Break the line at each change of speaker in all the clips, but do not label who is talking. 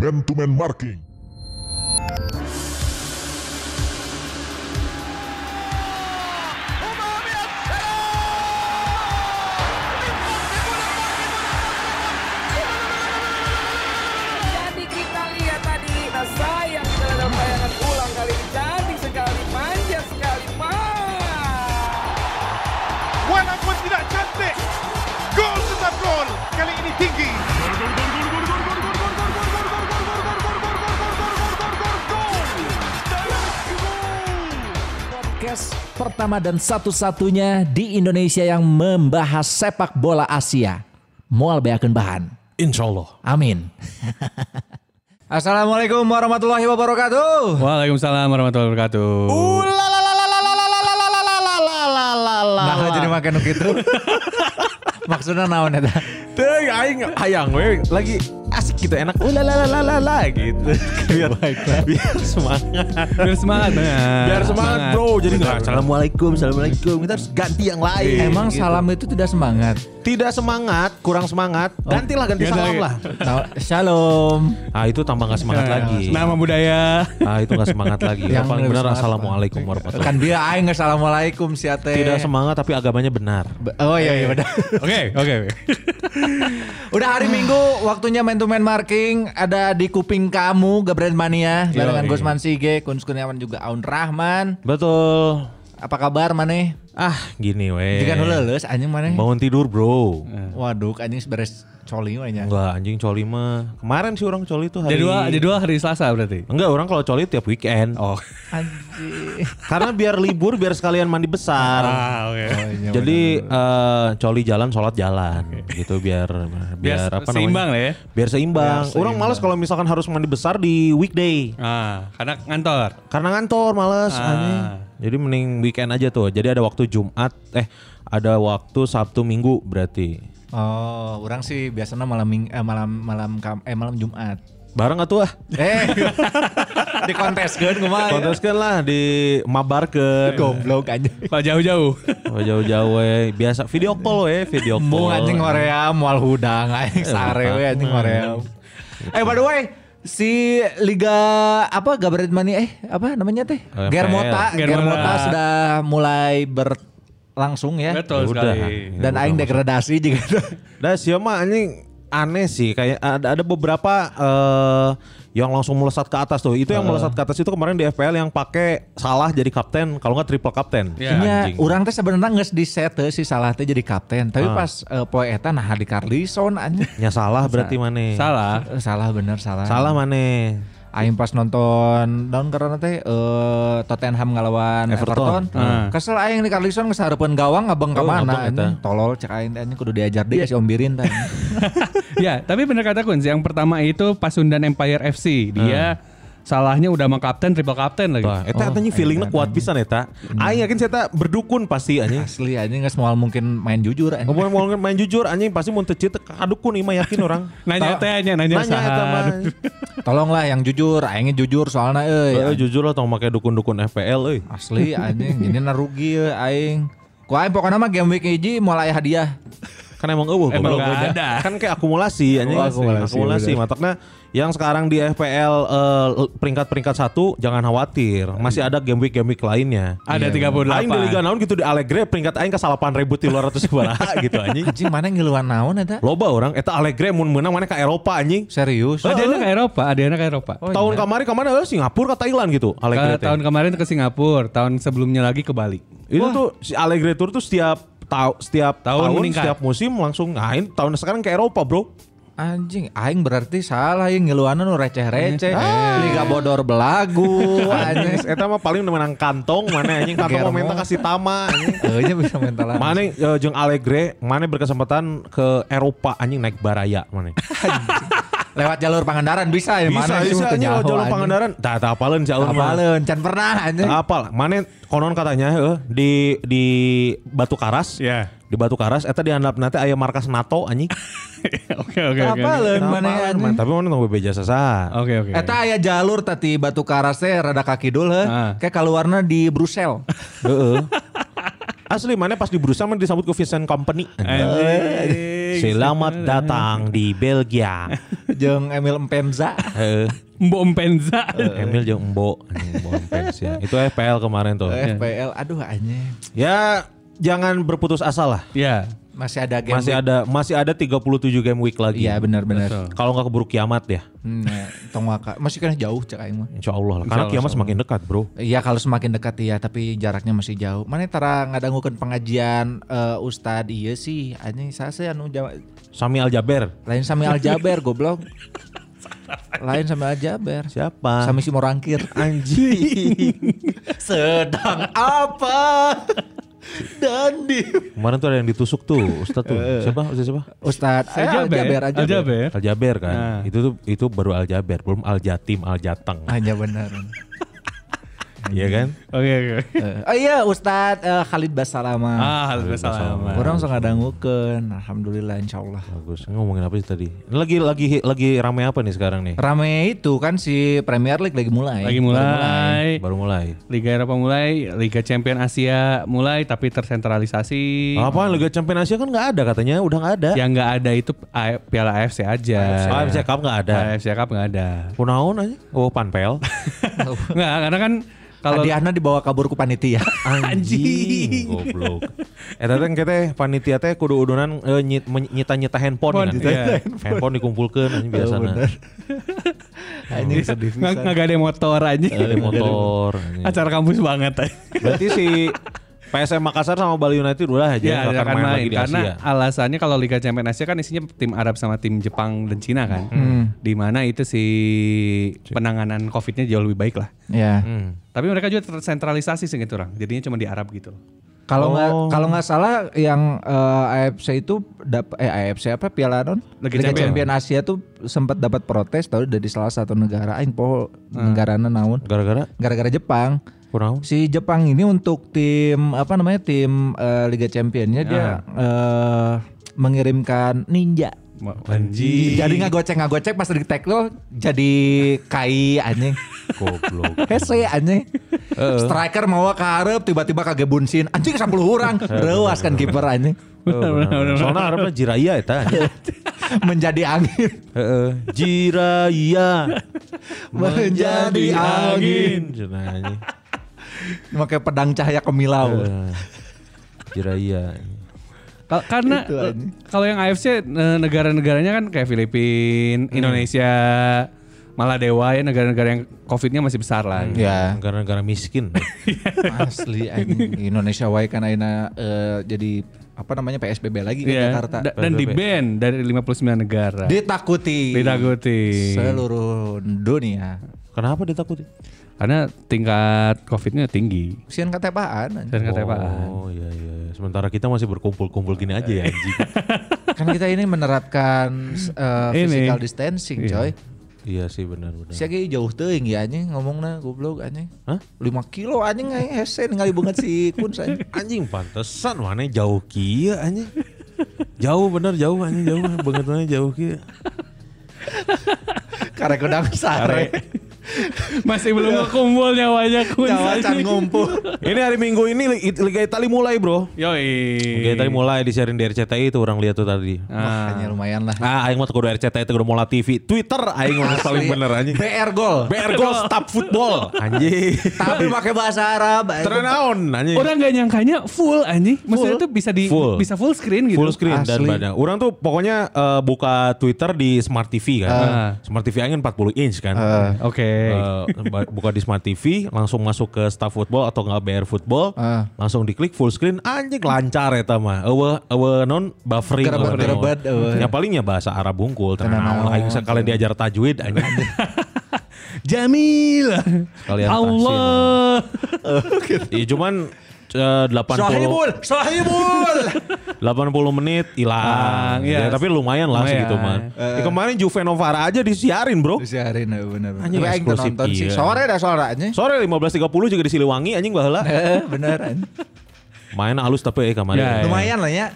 Man to Man Marking.
Jadi kita lihat tadi, nah sayang kita dalam bayangan ulang kali ini cantik sekali, manja sekali, Pak.
Walaupun tidak cantik, gol tetap gol. Kali ini tinggi.
podcast pertama dan satu-satunya di Indonesia yang membahas sepak bola Asia. Mual beakeun bahan.
Insya Allah.
Amin. Assalamualaikum warahmatullahi wabarakatuh.
Waalaikumsalam warahmatullahi wabarakatuh.
Nah, jadi makan gitu. Maksudnya naon eta?
Teng, aing hayang we lagi asik gitu enak. Ulalalalala gitu. Biar biar semangat. Biar semangat. Biar semangat, Bro. Jadi enggak assalamualaikum, assalamualaikum. Kita harus ganti yang
Iya,
lain.
Emang salam itu tidak semangat.
Gitu. tidak semangat, kurang semangat, gantilah ganti
Ganti
salam
lagi.
lah.
Nah, Shalom.
Oh, iya, Ah itu tambah nggak semangat lagi.
Iya, Nama budaya.
Ah itu nggak semangat lagi.
Yang
Yang paling
lebih
benar
semangat
assalamualaikum warahmatullahi.
Kan dia aing assalamualaikum si Ate.
Tidak semangat tapi agamanya benar.
Oh iya iya benar.
Oke, oke.
Udah hari Minggu, waktunya main to main marking ada di kuping kamu Gabriel Mania barengan
Yoi.
Gusman Sige, Kun Kurniawan juga Aun Rahman.
Betul.
Apa kabar maneh?
Ah gini weh.
Jika nu leuleus anjing maneh.
Bangun tidur bro.
Waduh, anjing beres coli we nya.
Enggak anjing coli mah. Kemarin sih orang coli tuh hari.
Jadwal jadwal hari Selasa berarti.
Enggak orang kalau coli tiap weekend. Oh.
Anjing.
Karena biar libur biar sekalian mandi besar.
Ah, oke.
Oh, Jadi eh, coli jalan, sholat jalan, gitu biar biar, apa
seimbang lah
namanya?
ya.
Biar seimbang. Orang males kalau misalkan harus mandi besar di weekday.
Ah, karena ngantor.
Karena ngantor males
Ah.
anjing. Jadi mending weekend aja tuh. Jadi ada waktu Jumat eh ada waktu Sabtu Minggu berarti.
Oh, orang sih biasanya malam ming eh, malam malam kam eh malam Jumat.
Bareng atuh ah.
Eh, di kontes kan kemarin.
Konteskeun lah di mabarkeun.
Goblok anjing.
Kalau jauh-jauh.
Oh, jauh-jauh we. Biasa video call we, video call.
Mung anjing hoream moal hudang aing sare we anjing hoream. Eh by the way, si Liga apa Gabarit Mani eh apa namanya teh?
LPL.
Germota,
Germota.
Germota sudah mulai berlangsung ya.
Betul
Udah.
sekali.
Dan aing degradasi juga tuh.
Dah siapa mah anjing aneh sih kayak ada ada beberapa eh yang langsung melesat ke atas tuh. Itu yang melesat ke atas itu kemarin di FPL yang pakai salah jadi kapten kalau nggak triple kapten.
Iya.
Nya
Anjing.
urang teh sebenarnya geus di set teh si Salah teh jadi kapten, tapi pas eh, poe eta nah di Carlison anjing.
Nya Ya, salah berarti mana?
Salah.
Eh, salah bener salah.
Salah mana?
Aing pas nonton daun karena teh eh, Tottenham ngelawan Everton, Hmm.
Everton. Ah.
Heeh.
kesel aing nih Carlison ngesarepeun gawang ngabeng ke
Oh, ngabeng
mana
eta. Iya.
anjing. tolol cek aing teh, anjing kudu diajar deh si ombirin teh
ya, tapi bener kata Kun, yang pertama itu Pasundan Empire FC. Dia salahnya udah sama kapten, triple kapten lagi.
Wah, eta katanya feelingnya kuat pisan eta. Aing yakin saya berdukun pasti anjing.
asli anjing nggak semua mungkin main jujur anjing.
Ngomong mau main jujur anjing pasti mun teu cita kadukun imah yakin orang.
Nanya
Tau-
teh, nanya, nanya,
Nanya eta mah.
sahan.
tolonglah yang jujur aingnya jujur soalnya euy
Eh, jujur lah tong make dukun-dukun FPL euy.
asli anjing gini na rugi euy, aing ku aing pokoknya mah game week hiji mulai hadiah
Kan emang eueuh goblok.
Emang nggak ada.
Kan kayak akumulasi anjing.
Oh, akumulasi,
akumulasi. Matakna yang sekarang di FPL eh, peringkat-peringkat satu jangan khawatir. Masih ada game week game week lainnya.
Ada 38.
Aing di Liga Naon gitu di Allegri peringkat aing ke 8.300 baraha gitu anjing.
anjing mana ngiluan naon eta
Loba orang eta Allegri mun menang mana ke Eropa anjing.
serius
Oh,
ada anak ke Eropa, ada anak ke Eropa.
Oh,
tahun kemarin kemana? Eh, Singapura ke Thailand gitu. Allegri
iya. Ke-
teh.
tahun kemarin ke Singapura, tahun sebelumnya lagi ke Bali.
Itu tuh si Allegri Tour tuh setiap tau, setiap
Tahun
tahun,
meningkat.
setiap musim langsung ngain tahun sekarang ke Eropa, Bro.
Anjing, aing berarti salah yang ngiluanan nu receh-receh.
Iya.
Liga
Ah.
bodor belagu,
Anjing,
anjing.
eta mah paling menang kantong mana anjing kantong
Germo.
pemerintah kasih tama anjing.
Kayaknya Eh, bisa mental lagi.
Mana eh, jeung Allegri, mana berkesempatan ke Eropa anjing naik baraya mana.
Lewat jalur Pangandaran bisa ya Eh,
Bisa
mana sih mah
bisa
teu
anjing
nyaho,
jalur
anjing.
Pangandaran. Tah tah apaleun si Aun mah.
Apaleun, can pernah anjing.
Tah Apal, mana konon katanya eh, di di Batu Karas.
Iya.
Di Batu Karas eta dihandap nanti aya markas NATO anjing.
Oke, oke, oke.
Apaleun mana
Apaleun,
anjing. Oh.
mana. Tapi mana tong bebeja sasa.
Oke, oke.
Eta aya Eh, ya jalur tadi batu karas teh rada kaki dul heh.
Nah.
Ah.
Kayak keluarna di Brussel.
Heeh. Asli mana pas di Brussels mana Eh, disambut ke Vincent Company.
Anjing.
Selamat datang di Belgia.
jeung Emil Empemza.
Heeh.
Mbok Penza.
Emil jeung Embo, anjing, Embo Empens ya. Itu FPL kemarin tuh.
FPL aduh anjing.
Eh. Ya jangan berputus asa lah.
Ya.
Masih ada game.
Masih ada masih ada 37 game week lagi.
Iya benar-benar.
Kalau nggak keburu kiamat ya.
Nah, tong waka. Masih kena jauh cek aing mah.
Insya Allah lah. Karena kiamat semakin dekat bro.
Iya kalau semakin dekat iya tapi jaraknya masih jauh. Mana tara ngadangukeun pengajian eh, ustad iya sih anjing sase anu jama-
Sami Aljaber.
lain sami aljaber goblok. Lain sami aljaber.
Siapa?
Sami si morangkir.
Anjing.
Sedang apa? Dan di
Kemarin tuh ada yang ditusuk tuh. Ustaz tuh. Siapa? Ustaz siapa?
Ustad aljaber
Aljaber.
eh, aja.
Aljaber.
Aljaber kan.
Nah.
Itu tuh itu baru Aljaber, belum Aljatim, Aljateng.
Hanya Ah, benar.
Iya kan?
Oke oke.
Eh, oh iya Ustad eh, Khalid Basalama.
Ah, Alhamdulillah.
Orang sok ngadangukeun. Alhamdulillah insyaallah.
Bagus. Ngomongin apa sih tadi? Lagi lagi lagi rame apa nih sekarang nih?
Rame itu kan si Premier League lagi mulai.
Lagi mulai.
Baru mulai.
Liga Eropa mulai, Liga Champion Asia mulai tapi tersentralisasi.
Apa Liga Champions Asia kan nggak ada katanya, udah nggak Oh, ada.
Yang nggak ada itu A- Piala AFC aja. Iya.
AFC Cup nggak ada.
AFC Cup nggak ada.
Kunaon aja? Oh panpel.
Nggak, karena kan kalau
Hadiahnya dibawa kabur ku panitia.
Anjing. Goblok. Eta teh engke teh panitia teh kudu udunan eh, nyit- men- nyita-nyita handphone kan. Iya. Handphone dikumpulkeun anjing biasana.
Anjing sedih
nggak
pisan.
nggak ada motor aja.
Eh, motor. anjing.
Acara kampus banget.
Berarti si PSM Makassar sama Bali United udah Iya, aja
Ya,
nggak
nggak akan main,
lagi di
karena
Asia.
alasannya kalau Liga Champion Asia kan isinya tim Arab sama tim Jepang dan Cina kan.
Hmm.
Di mana itu si penanganan COVID-nya jauh lebih baik lah.
Ya.
Hmm.
Tapi mereka juga tersentralisasi segitu orang. Jadinya cuma di Arab gitu. loh.
Kalau nggak
Oh.
kalau nggak salah yang eh, AFC itu dap- eh AFC apa Piala Non?
Liga Champion.
Asia tuh sempat dapat protes tahu dari salah satu negara aing poho
Hmm.
negarana naon
Gara-gara
gara-gara Jepang.
kurang
Si Jepang ini untuk tim apa namanya tim eh, Liga Championnya dia
Ah.
eh, mengirimkan ninja.
Anjir.
Jadi nggak gocek nggak gocek pas di tackle jadi kai anjing.
goblok.
Hese anjing. Striker mau ke hareup tiba-tiba kage bunsin. Anjing sampul hurang. Rewas kan kiper anjing.
Oh, benar. Soalnya Arabnya Jiraya eta.
Menjadi angin.
Heeh. Jiraya
Menjadi angin.
Cenah anjing.
Pakai pedang cahaya kemilau.
Heeh. Jiraya.
Ka- Karena eh,
Itu aja.
kalau yang AFC eh, negara-negaranya kan kayak
Hmm.
Filipina, Indonesia, Maladewa ya negara-negara yang COVID-nya masih besar lah. gitu.
Ya,
Gara-gara miskin.
asli anjing. Indonesia wae kan ayeuna eh, jadi apa namanya PSBB lagi ke
Iya.
Jakarta.
Da- dan di ban dari 59 negara.
Ditakuti.
Ditakuti.
Seluruh dunia.
Kenapa ditakuti?
Karena tingkat COVID-nya tinggi.
Sian katepaan. anjing.
Dan kata Pak, ah,
Oh iya iya. Sementara kita masih berkumpul-kumpul gini aja ya anjing.
kan kita ini menerapkan eh,
Ini.
physical distancing, coy.
iya sih benar-benar.
Si Agi jauh teuing ya anjing ngomongna goblok anjing.
Hah?
5 kilo anjing aing hese ningali banget si Kun anjing.
Anjing pantesan mana jauh kia anjing. Jauh bener jauh anjing jauh banget mana jauh kia.
Karek udang sare.
masih belum ngekumpul nyawanya kun.
Jawacan Iya. ngumpul.
Ini hari Minggu ini Li- Liga Itali mulai, Bro.
Yoi.
Liga Itali mulai disiarin di RCTI itu orang lihat tuh tadi.
Ah.
Makanya lumayan lah.
Ah, aing mah kudu RCTI itu kudu Mola TV. Twitter aing mah paling bener anjing.
BR gol.
BR Gol Stop Football anjing.
Tapi pakai bahasa Arab. anjing.
Ternaon anjing.
Orang gak nyangkanya full anjing.
Iya.
Maksudnya
Full.
itu bisa di
Full.
bisa full screen gitu.
Full screen dan
Asli.
banyak. Orang tuh pokoknya eh, buka Twitter di Smart TV kan.
Ah.
Smart TV aing kan 40 inch kan.
Oke.
Eh, ba- buka di Smart TV, langsung masuk ke Staff Football atau nggak BR Football,
Ah.
langsung diklik full screen, anjing lancar ya mah. Ewe ewe non buffering.
Gerebet,
ewe naon.
gerebet, ewe.
Ya palingnya bahasa Arab bungkul.
Tenang
Tenang,
naon.
aing sekali diajar tajwid anjing.
Jamil.
Kalian
Allah.
Iya cuman eh, 80
Sohibul, sohibul.
80 menit hilang.
Hilang,
Ya,
Ah, yes.
tapi lumayan lah
Lumayan.
segitu mah. Ya, kemarin Juve Novara aja disiarin, Bro.
Disiarin eh, bener. Tapi aing
Anjing,
teu
eksklusif,
nonton sih.
iya.
Sore dah sore anjing.
Sore 15.30 juga di Siliwangi anjing baheula.
Nah,
Eh, beneran.
Main halus tapi eh kemarin.
Ya, ya.
Lumayan lah ya.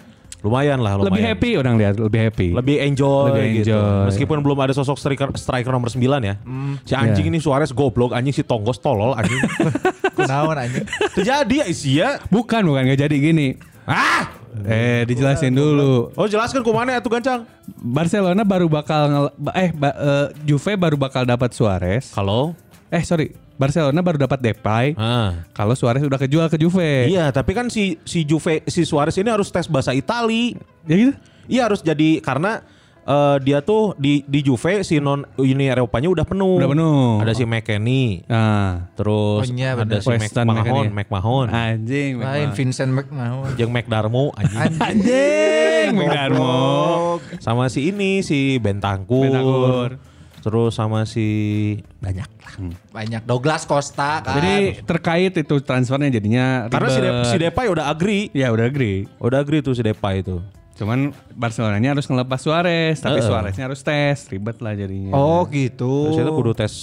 Lumayan lah lumayan.
Lebih happy orang lihat, lebih happy.
lebih enjoy,
Lebih
gitu.
enjoy. Hmm.
Meskipun belum ada sosok striker striker nomor 9 ya. si anjing ini Suarez goblok, anjing si Tonggos tolol anjing.
Kunaon anjing.
Terjadi Asia.
Bukan, bukan gak jadi gini.
Ah,
Eh, dijelasin dulu.
Oh jelaskan kumana tuh gancang.
Barcelona baru bakal ngel- ba- eh ba- eh, Juve baru bakal dapat Suarez.
Kalau
Eh, sorry. Barcelona baru dapat Depay.
ah.
Kalau Suarez udah kejual ke Juve.
Iya, tapi kan si si Juve si Suarez ini harus tes bahasa Itali.
Ya gitu.
Iya harus jadi karena eh, dia tuh di di Juve si non Uni Eropanya udah penuh.
Udah penuh.
Ada si McKennie,
Nah,
Oh,
terus
iya,
ada
bener.
si
Weston
McMahon,
McKennie.
McMahon,
anjing.
Lain
memang.
Vincent McMahon.
jeung McDarmo anjing.
Anjing, Darmo.
sama si ini si Bentancur.
Bentancur.
Terus sama si Hmm. banyak lah.
Banyak Douglas Costa kan.
Jadi terkait itu transfernya
Ah,
jadinya
Karena si,
ribet.
Dep- si Depay udah agree.
ya udah agree.
Iya. Udah agree tuh si Depay itu.
Cuman Barcelonanya harus ngelepas Suarez, tapi
Heeh.
Suareznya harus tes, ribet lah jadinya.
Oh gitu.
Terus itu kudu tes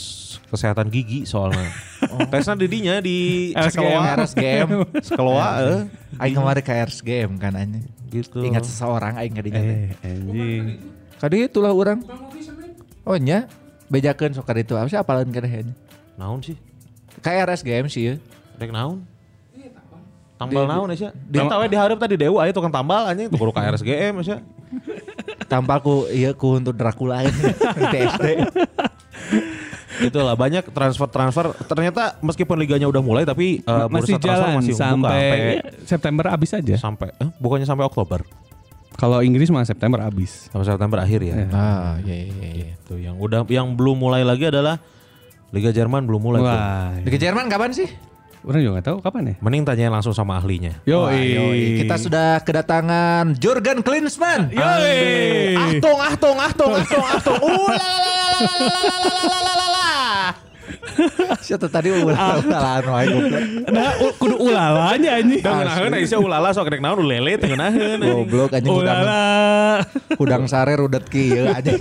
kesehatan gigi soalnya. Tesnya didinya di
Game
Skeloa.
harus game.
Skeloa eh.
Aing kemarin ke Ars Game kan anjing.
Gitu.
Ingat seseorang aing kadinya. teh.
Eh, anjing.
Kadi itulah orang. Oh nya bejakeun sok kaditu. Apa sih apalan keneh
Naon sih?
Kayak Ars Game sih ya.
Rek naon? Iya, Tambal naon ya? Dia
Tam-
tahu diharap tadi dewa aja tukang tambal anjing tuh kudu KRSGM ya.
Tampal ku ieu iya, ku untuk Dracula aing. TSD.
Itulah banyak transfer-transfer ternyata meskipun liganya udah mulai tapi eh, bursa
masih
transfer
jalan
masih membuka
sampai, September habis aja.
sampai sampai eh, bukannya sampai Oktober
Kalau Inggris mah September habis.
sampai September akhir ya.
Ah, iya iya iya.
Tuh yang udah yang belum mulai lagi adalah Liga Jerman belum mulai tuh.
Wah,
Di Jerman kapan sih?
orang juga gak tahu kapan ya.
Mending tanyain langsung sama ahlinya.
Yo,
Wah, yoi. Kita sudah kedatangan Jurgen Klinsmann.
Yoi.
Ahtung, ahtung, ahtung, ahtung, ahtung. Siapa tadi ulah ulah anu aing goblok.
Nah, u- kudu ulalanya anjing.
Dah ngeunaheun Aisyah ulala sok rek naon lele teu ngeunaheun.
Goblok anjing udang.
Ulala.
Udang sare rudet kieu anjing.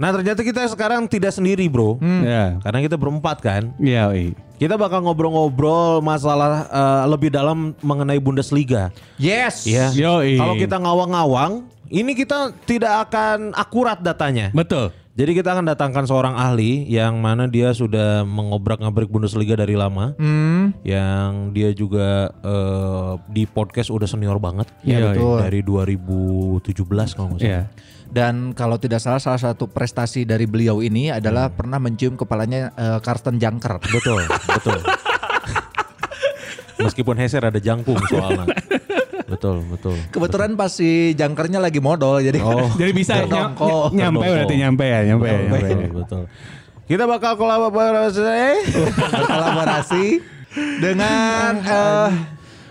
Nah, ternyata kita sekarang tidak sendiri, Bro.
Ya.
Karena kita berempat kan.
Ya, oi.
Kita bakal ngobrol-ngobrol masalah eh, lebih dalam mengenai Bundesliga.
Yes.
Iya.
Yoi.
Kalau kita ngawang-ngawang, ini kita tidak akan akurat datanya.
Betul.
Jadi kita akan datangkan seorang ahli yang mana dia sudah mengobrak-ngabrik Bundesliga dari lama.
Hmm.
Yang dia juga eh, di podcast udah senior banget.
Iya,
betul.
Dari 2017 kalau nggak salah.
Ya.
Dan kalau tidak salah salah satu prestasi dari beliau ini adalah pernah mencium kepalanya eh, Karsten Jangker.
Hmm. Betul, betul. Meskipun Heser ada jangkung soalnya. betul, betul.
Kebetulan pas si jangkernya lagi modal jadi
Oh.
Jadi bisa nyam-
Terdongkol.
nyampe
Terdongkol.
berarti nyampe ya, nyampe ya, nyampe.
Betul, betul. Kita bakal kolaborasi.
berkolaborasi dengan eh,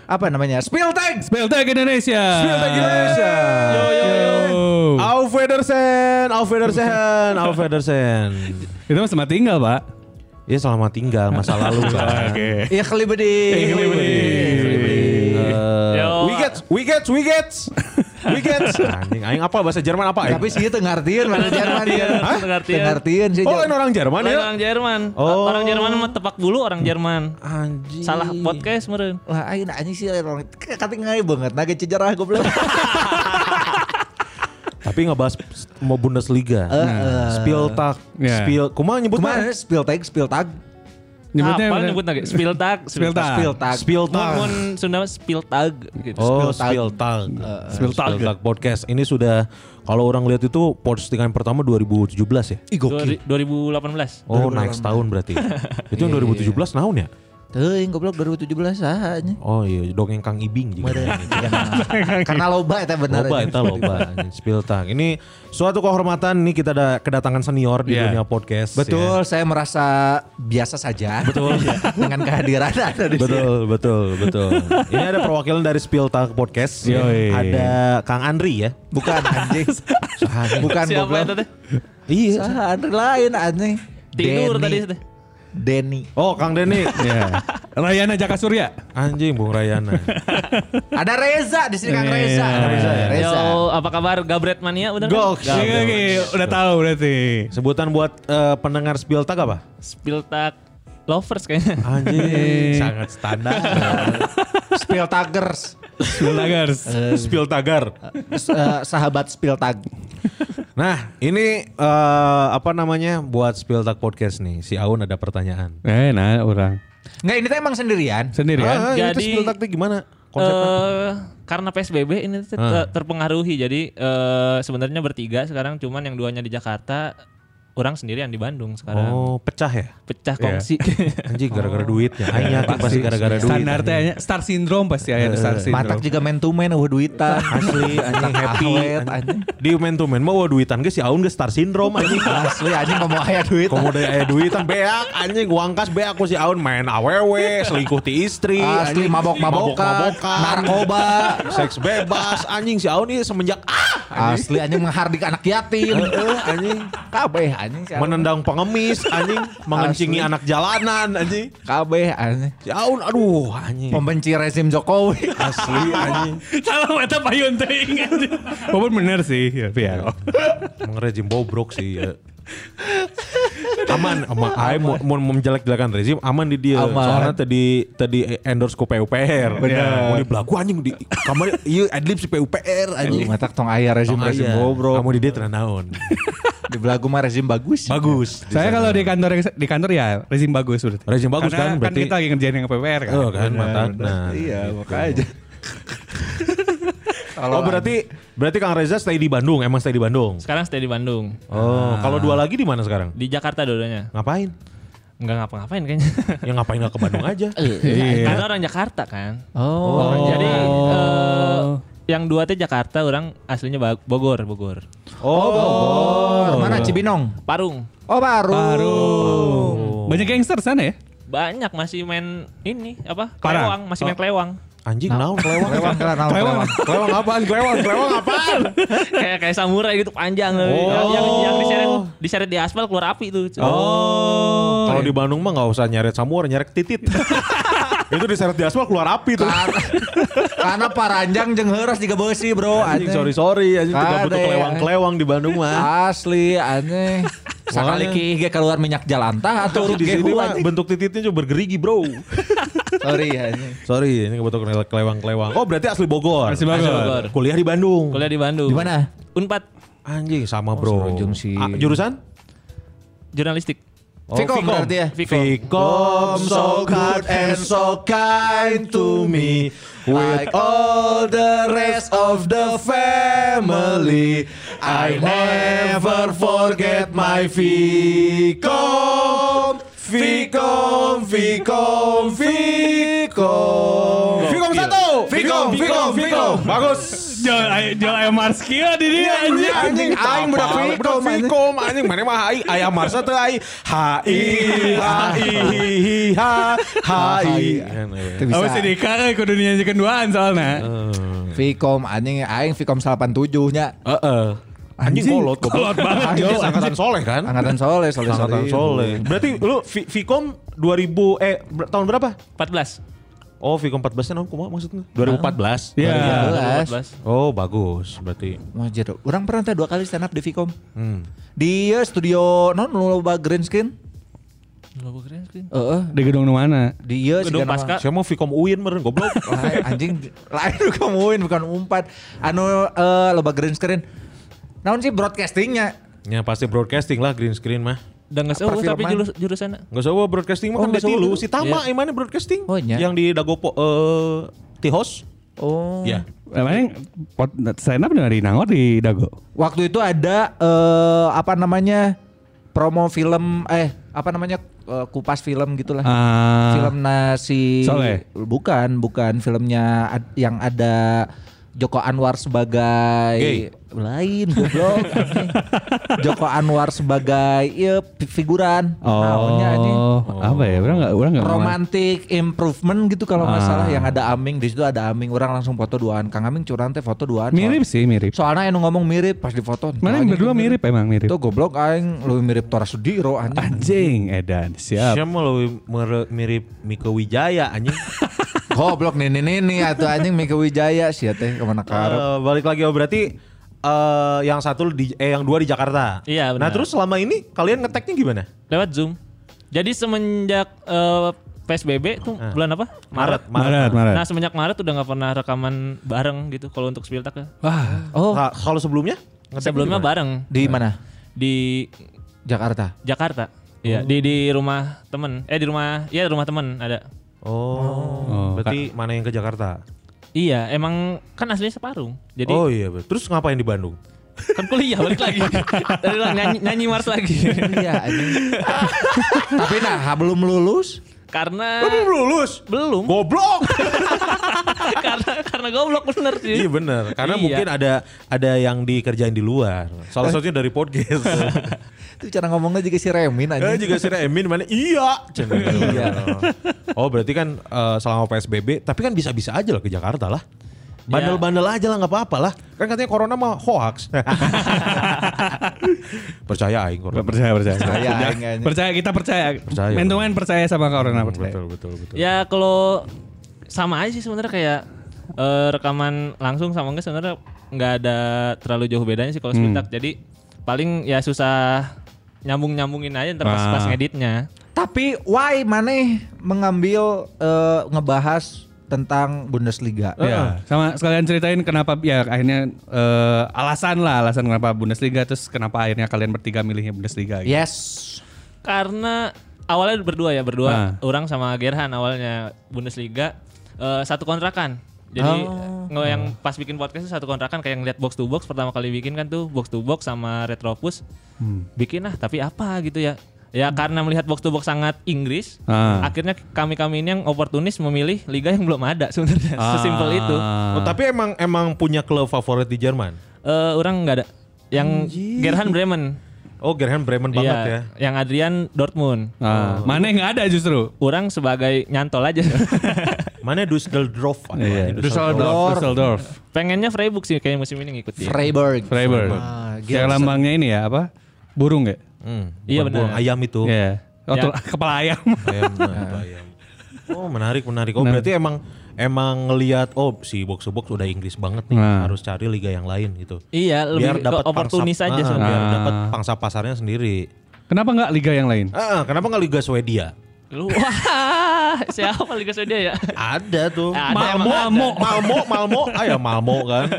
apa namanya? Spill Tank.
Speltag Indonesia.
Speltag Indonesia.
Yo yo yo.
Auf Wiedersehen, auf Wiedersehen, auf Wiedersehen.
Itu mah sama tinggal, Pak.
Ya selamat tinggal masa lalu kan.
Ya kali bedi.
Eh,
Uh, we get, we get, we get, we get. Anjing, aing apa bahasa Jerman apa? ya? aing?
Tapi sih itu ngartiin mana Jerman ya. Hah?
Ngartiin.
Ngartiin sih.
oh lain
Jerman.
orang Jerman
Lain
ya?
Kan orang Jerman.
Oh.
Orang Jerman mah tepak bulu orang Jerman.
Anjing.
Salah podcast meren.
Lah aing anjing sih lain orang. Kata ngai banget nage cejarah goblok.
Tapi ngebahas mau Bundesliga.
Eh,
Spieltag,
Ya.
Spiel, kumaha nyebutnya?
Kemana Spill Tank, Spill Tank.
Nyebutnya
Apa
bener.
nyebut lagi? Spiltag.
Spiltag.
Spieltag.
Spieltag.
Mun Sunda mah Spiltag gitu.
Oh,
Spieltag.
Spieltag.
Eh, Spiltag.
Spieltag podcast. Ini sudah kalau orang lihat itu postingan pertama 2017 ya.
Ih gokil.
Dua- 2018.
Oh, naik setahun berarti.
Iya,
itu yang 2017 naon ya?
Teuing goblok 2017 saha anjing.
Oh iya, dongeng Kang Ibing juga.
Meureun. Karena loba eta bener.
Iya. Loba,
anjing.
itu loba. anjing. Spieltag. Ini suatu kehormatan nih kita ada kedatangan senior di
Iya.
dunia podcast.
Betul,
ya.
saya merasa biasa saja. Betul. dengan kehadiran Anda di sini.
Betul, betul, betul. Ini ada perwakilan dari Spieltag Podcast.
Iya,
ya.
Yoi.
Ada Kang Andri ya.
Bukan anjing. Bukan
Kan,
Siapa
goblok.
itu teh?
Iya.
Saha Andre lain anjing.
Tidur
Denny.
tadi teh.
Denny.
Oh, Kang Deni.
Ya.
Iya.
Rayana Jaka Surya.
Anjing Bung Rayana.
Ada Reza di sini Kang Reza.
Iya.
Eh,
Reza. ya? Reza.
Yo, apa kabar Gabret Mania udah
Gok.
kan?
Oke, oke, udah tahu berarti.
Sebutan buat eh, pendengar Spieltag apa?
Spiltag lovers kayaknya.
Ah, Anjing, sangat standar.
Spill Tigers.
Speltagers.
Iya.
Spieltagar.
S- eh, sahabat Spill Tag.
Nah, ini eh, apa namanya buat Spieltag podcast nih. Si Aun ada pertanyaan.
Eh, nah orang
Nggak ini tuh emang sendirian.
sendiri
Ah, itu
kan?
Jadi-
Spieltag tuh gimana? Konsepnya?
Eh, karena PSBB ini tuh ter-
Ah.
terpengaruhi jadi eh, sebenarnya bertiga sekarang cuman yang duanya di Jakarta orang sendirian di Bandung
Oh,
sekarang
Iya. pecah ya?
pecah kongsi
Anjing gara-gara duitnya. Aing yakin Ah, pasti gara-gara duit. Eh,
Standar
anjing.
tanya star syndrome pasti ada star syndrome.
Batak juga man to man, uh duitan. Iya. Asli, anjing happy. Anjing.
Di man to man mah wah duitan ge si Aun ge star syndrome anjing.
Asli, anjing ngomong ayah duit.
Komodo aya duitan beak anjing uang kas beak ku si Aun main awewe, selingkuh ti istri,
Asli,
anjing.
mabok-mabokan,
Mabok-mabokan.
narkoba.
seks bebas anjing si Aun ini semenjak ah
Asli, anjing menghardik anak yatim.
anjing
Kabeh, anjing. si Aun.
menendang pengemis anjing mengencingi
Asli.
anak jalanan anjing
Kabeh, anjing.
si Aun aduh anjing
Pembenci rezim Jokowi.
asli anjing
salah mata payun teuing anjing.
Walaupun bener sih, ya, tapi
Iya.
ya.
Emang rezim bobrok sih ya. aman, aman. Ayo mau, mau mau menjelek-jelekan rezim aman di dia.
Aman.
Soalnya tadi tadi endorse ke PUPR.
Bener.
Mau di belagu anjing di kamar iya adlib si PUPR
Aduh,
anjing.
matak tong ayah rezim rezim bobrok.
bobrok. Iya. Kamu di dia tenanaun.
Di belagu mah rezim bagus.
bagus.
Saya kalau di kantor di kantor ya rezim bagus berarti.
Rezim bagus
Karena
kan, berarti-
kita lagi ngerjain yang PPR kan.
Oh kan mata.
Nah, iya, makanya.
Oh berarti berarti Kang Reza stay di Bandung, emang stay di Bandung.
sekarang stay di Bandung
Oh, kalau dua lagi di mana sekarang?
di Jakarta dua-duanya
Ngapain?
nggak ngapa-ngapain kayaknya
Ya ngapain nggak ke Bandung aja?
Iya.
karena orang Jakarta kan
Oh,
jadi eh, yang dua teh Jakarta orang aslinya Ba- Bogor Bogor
oh, mana Cibinong?
Parung
Oh, baru. Oh,
Oh.
Banyak gangster sana ya?
banyak masih main ini apa
Parang.
kelewang masih main kelewang
Anjing naon kelewang.
Kelewang, kelewang, kelewang.
Kelewang apaan? Kelewang, kelewang apaan?
kayak kayak samurai gitu panjang tapi yang yang, yang diseret diseret di aspal keluar api tuh cuy.
Oh. Kalau di Bandung mah nggak usah nyeret samur, nyeret titit. itu diseret di aspal keluar api tuh.
Karena- Karena paranjang jeung heureus juga beusi, Bro. Anjing.
Anjing sorry sorry, anjing tidak
Ada
butuh
ya.
kelewang-kelewang di Bandung mah.
Asli aneh. Sakali
Wah.
ki ge keluar minyak jalan tah atuh
Tapi di
ge
sini mah
anjing.
bentuk tititnya cuma bergerigi bro.
Sorry anjing.
sorry, ini nggak butuh kele- kelewang-kelewang. Oh berarti asli Bogor.
Asli Bogor.
Kuliah di Bandung.
kuliah di Bandung
Di mana?
unpad
Anjing sama bro.
serunjung sih.
Ah, jurusan?
jurnalistik
Oh,
Fikom
Fikom.
berarti ya.
Fikom.
Fikom so good and so kind to me With all the rest of the family I never forget my Fikom Fikom, Fikom, Fikom Fikom
Iya.
satu Fikom, Fikom, Fikom Bagus
Jual jual ayam Marskia di
Iya,
dia
anjing anjing aing budak fikom fikom anjing mana mah ai ayam marsa teh ai hai hai ha hai
Teu
Oh,
Awas
bisa.
si Dika kan ke dunia yang keduaan
Eh.
soalnya.
Fikom anjing aing Fikom 87 nya.
heeh
Anjing,
anjing kolot kolot banget anjing angkatan soleh kan
Angkatan soleh, soleh
angkatan soleh berarti lu Fi- fikom 2000 eh ber- tahun berapa
14
oh fikom 14 nya kumaha maksudnya 2014
Iya.
14.
14
oh bagus berarti Hmm.
Wajar. Orang pernah teh dua kali stand up di Fikom. Di eh, studio non lu loba green skin.
Lobo keren sih.
Heeh.
Di gedung nu mana?
Di eh,
Gedung
sigana mah.
Pasca.
saya mau fikom uin meren goblok
Lain, anjing lain lu kemuin bukan umpat anu eh, loba green screen naon sih broadcastingnya
ya pasti broadcasting lah green screen mah
dan nggak seueuh tapi
Perfilman.
jurus jurusan
Gak usah wah, broadcasting mah
Oh,
kan
nggak
dia
usah
tilu.
dulu.
Si Tama emangnya broadcasting.
Oh, iya.
Yang di Dagopo, eh Tihos.
oh
Ya.
Emangnya pot- stand up di Nangor di Dago.
waktu itu ada eh, apa namanya promo film eh apa namanya eh, kupas film gitulah
Ah.
film nasi
Soleh.
bukan bukan filmnya ad- yang ada Joko Anwar sebagai
Gay.
lain goblok anjing. Joko Anwar sebagai iya, fi- figuran Naonnya, anjing.
Oh, apa ya? Orang nggak, orang nggak.
romantic improvement gitu kalau nggak
Ah.
salah yang ada Aming di situ ada Aming orang langsung foto duaan Kang Aming curang teh foto duaan
Mirip sih, mirip.
soalnya gitu. anu ngomong mirip pas di foto
Mana yang berdua mirip emang mirip.
itu goblok aing lebih mirip Tora Sudiro anjing
Anjing, Edan, siap.
Siapa mah lebih mere- mirip Mika Wijaya anjing.
goblok nini nini atuh anjing Mika Wijaya sih ya teh kemana karep
Eh, balik lagi oh berarti eh yang satu di eh yang dua di Jakarta.
Iya,
Nah,
benar.
terus selama ini kalian ngeteknya gimana?
lewat zoom jadi semenjak eh, PSBB tuh
Eh.
bulan apa Maret
Maret, Maret.
Nah semenjak Maret udah nggak pernah rekaman bareng gitu kalau untuk Spiltak ya.
oh
Nah, kalau sebelumnya? Ngetek
Sebelumnya
gimana?
bareng
di mana
di
Jakarta
Jakarta. Iya di di rumah iya, temen. Eh di rumah, ya rumah temen ada.
Oh, berarti mana yang ke Jakarta?
Iya, emang kan aslinya separung. Jadi
oh iya, betul. terus ngapain di Bandung?
kan kuliah balik lagi. Dari lah, nyanyi, nyanyi Mars lagi.
Iya anjing. Tapi nah belum lulus.
karena
Belum lulus.
belum.
Goblok.
karena karena goblok bener
iya
sih.
bener, karena
Iya. Eh.
mungkin ada ada yang dikerjain di luar. Salah satunya dari podcast.
Itu cara ngomongnya juga si Remin
Eh
anjing.
juga si Emin mana? Iya.
Iya.
oh berarti kan eh, selama PSBB, tapi kan bisa-bisa aja lah ke Jakarta lah. Iya. Bandel-bandel aja lah nggak apa-apa lah. Kan katanya corona mah hoax. percaya aing corona.
Percaya, percaya.
Percaya,
Percaya,
enggak, enggak.
percaya, kita percaya.
Percaya.
Man to man percaya sama Corona percaya.
Betul betul betul.
Ya kalau sama aja sih sebenarnya kayak eh, rekaman langsung sama enggak sebenarnya nggak ada terlalu jauh bedanya sih kalau sebentar. Jadi paling ya susah nyambung-nyambungin aja ntar pas,
Ah.
pas ngeditnya.
Tapi why maneh mengambil eh, ngebahas tentang Bundesliga?
Iya. Sama sekalian ceritain kenapa ya akhirnya eh, alasan lah alasan kenapa Bundesliga terus kenapa akhirnya kalian bertiga milihnya Bundesliga
Ya,
gitu.
Yes.
Karena awalnya berdua ya, berdua.
Ah.
Orang sama Gerhan awalnya Bundesliga eh, satu kontrakan. Jadi
Oh.
nge- yang pas bikin podcast itu satu kontrakan kayak ngeliat box to box pertama kali bikin kan tuh box to box sama Retropus.
Hmm.
Bikin ah tapi apa gitu ya. Ya karena melihat box to box sangat Inggris,
Ah.
akhirnya kami-kami ini yang oportunis memilih liga yang belum ada sebenarnya.
Ah.
Sesimpel itu.
Oh, tapi emang emang punya klub favorit di Jerman.
Eh orang nggak ada yang Gerhan Bremen.
Oh Gerhan Bremen banget
Iya,
ya.
Yang Adrian Dortmund.
Ah, Mana yang nggak ada justru.
Orang sebagai nyantol aja.
Mana Dusseldorf? ada mana?
Iya, Düsseldorf. Düsseldorf.
Pengennya Freiburg sih kayak musim ini
Iya.
ngikutin.
Freiburg.
Freiburg.
Ah,
Yang lambangnya ini ya apa? Burung ya?
Hmm,
Iya,
bukan
benar.
buang Ayam itu.
Iya. Oh,
Ya.
tel- kepala ayam.
Ayam, ayam, ayam. Oh menarik menarik. Oh berarti emang emang ngelihat oh si box to box udah Inggris banget nih
Nah.
harus cari liga yang lain gitu.
Iya,
biar
lebih
dapat
ke oportunis
pangsa,
aja
ah,
sebenarnya.
biar
Ah.
dapat pangsa pasarnya sendiri.
Kenapa nggak liga yang lain?
Ah, kenapa nggak liga Swedia?
Lu wah, siapa Liga Swedia ya?
Ada tuh. Malmo,
Ada, emang ada.
Malmo, Malmo, Malmo, ah ya Malmo kan.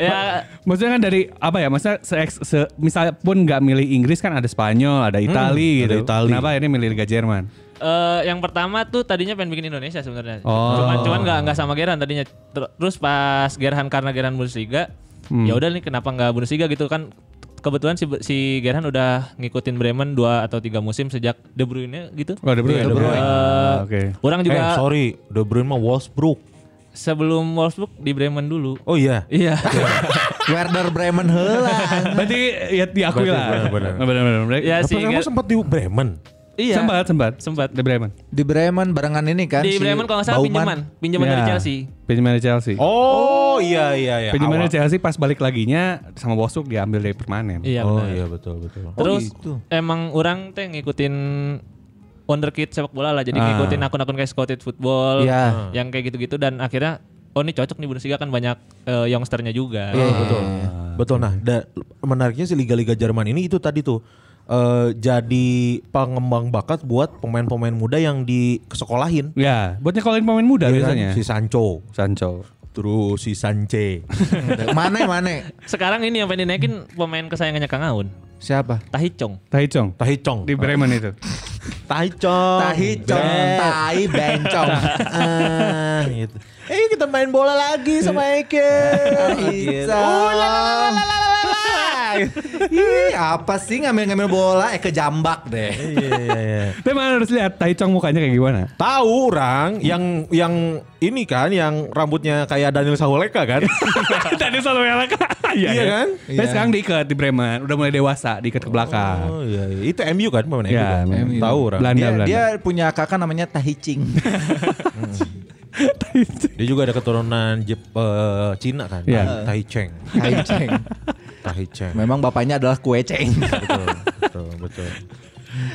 ya
Maksudnya kan dari apa ya? Maksudnya se, se- misalnya pun nggak milih Inggris kan ada Spanyol, ada Itali
ada
gitu.
Itali.
Kenapa ini milih Liga Jerman?
eh, yang pertama tuh tadinya pengen bikin Indonesia sebenarnya.
Oh.
Cuman cuman nggak nggak sama Gerhan tadinya. Ter- Terus pas Gerhan karena Gerhan Bundesliga,
Hmm.
ya udah nih kenapa nggak Bundesliga gitu kan kebetulan si si Gerhan udah ngikutin Bremen dua atau tiga musim sejak De Bruyne gitu.
Oh, De
Iya,
Bruyne.
De Bruyne.
Ah, Oke.
eh
Orang juga
sorry, De Bruyne mah Wolfsburg.
sebelum Wolfsburg di Bremen dulu.
Oh iya.
Iya.
Werder Bremen heula.
Berarti ya diakui
Berarti
lah. Oh,
benar, benar.
Benar-benar.
ya
Tapi
si
kamu
Ger-
sempat di Bremen.
Iya.
Sempat, sempat.
Sempat.
Di Bremen.
Di Bremen barengan ini kan si
Di Bremen kalau nggak salah
Baumann.
pinjaman, pinjaman dari
Ya.
Chelsea.
Pinjaman dari Chelsea.
Oh, iya iya iya.
Pinjaman dari
Awal.
Chelsea pas balik laginya sama Bosuk diambil dari permanen.
Iya.
Oh
benar.
iya betul betul.
Terus
gitu.
emang orang teh ngikutin wonderkid sepak bola lah, jadi ngikutin akun-akun kayak Scouted
Ah.
Football,
Iya.
yang kayak gitu-gitu dan akhirnya oh ini cocok nih Bundesliga kan banyak eh, youngsternya juga.
Iya, betul.
betul.
Ah,
Betul. Nah, da- menariknya si liga-liga Jerman ini itu tadi tuh eh, jadi pengembang bakat buat pemain-pemain muda yang disekolahin.
Ya, buat nyekolin pemain muda
Iya kan?
biasanya.
Si Sancho,
Sancho.
terus si Sanche.
Mane Mane.
Sekarang ini yang pengen dinaikin pemain kesayangannya Kang Aun,
Siapa?
Tahicong.
Taichong.
Tahicong.
Di Bremen itu.
Tahicong.
Tahi cong, tahi bencong.
Ah, gitu. Eh kita main bola lagi sama
Eh.
Eke.
Oh, Ica. Ih, apa sih ngambil-ngambil bola eh kejambak deh.
Iya, iya, iya.
Tapi mana harus lihat Taichong mukanya kayak gimana?
Tahu orang yang yang ini kan yang rambutnya kayak Daniel Sahuleka kan?
Tadi selalu elek. Iya
Iya kan?
Tapi
Iya.
sekarang diikat di Bremen, udah mulai dewasa, diikat ke belakang.
Oh iya, iya. itu MU kan pemain
Iya,
MU kan?
MU.
Tahu orang.
Belanda,
Dia,
Belanda.
dia punya kakak namanya Tahicing.
Dia juga ada keturunan Jep- eh, Cina kan?
Iya.
Ah, Tai Cheng.
Tahicing.
Tai Cheng.
Memang bapaknya adalah kue ceng.
betul, betul, betul.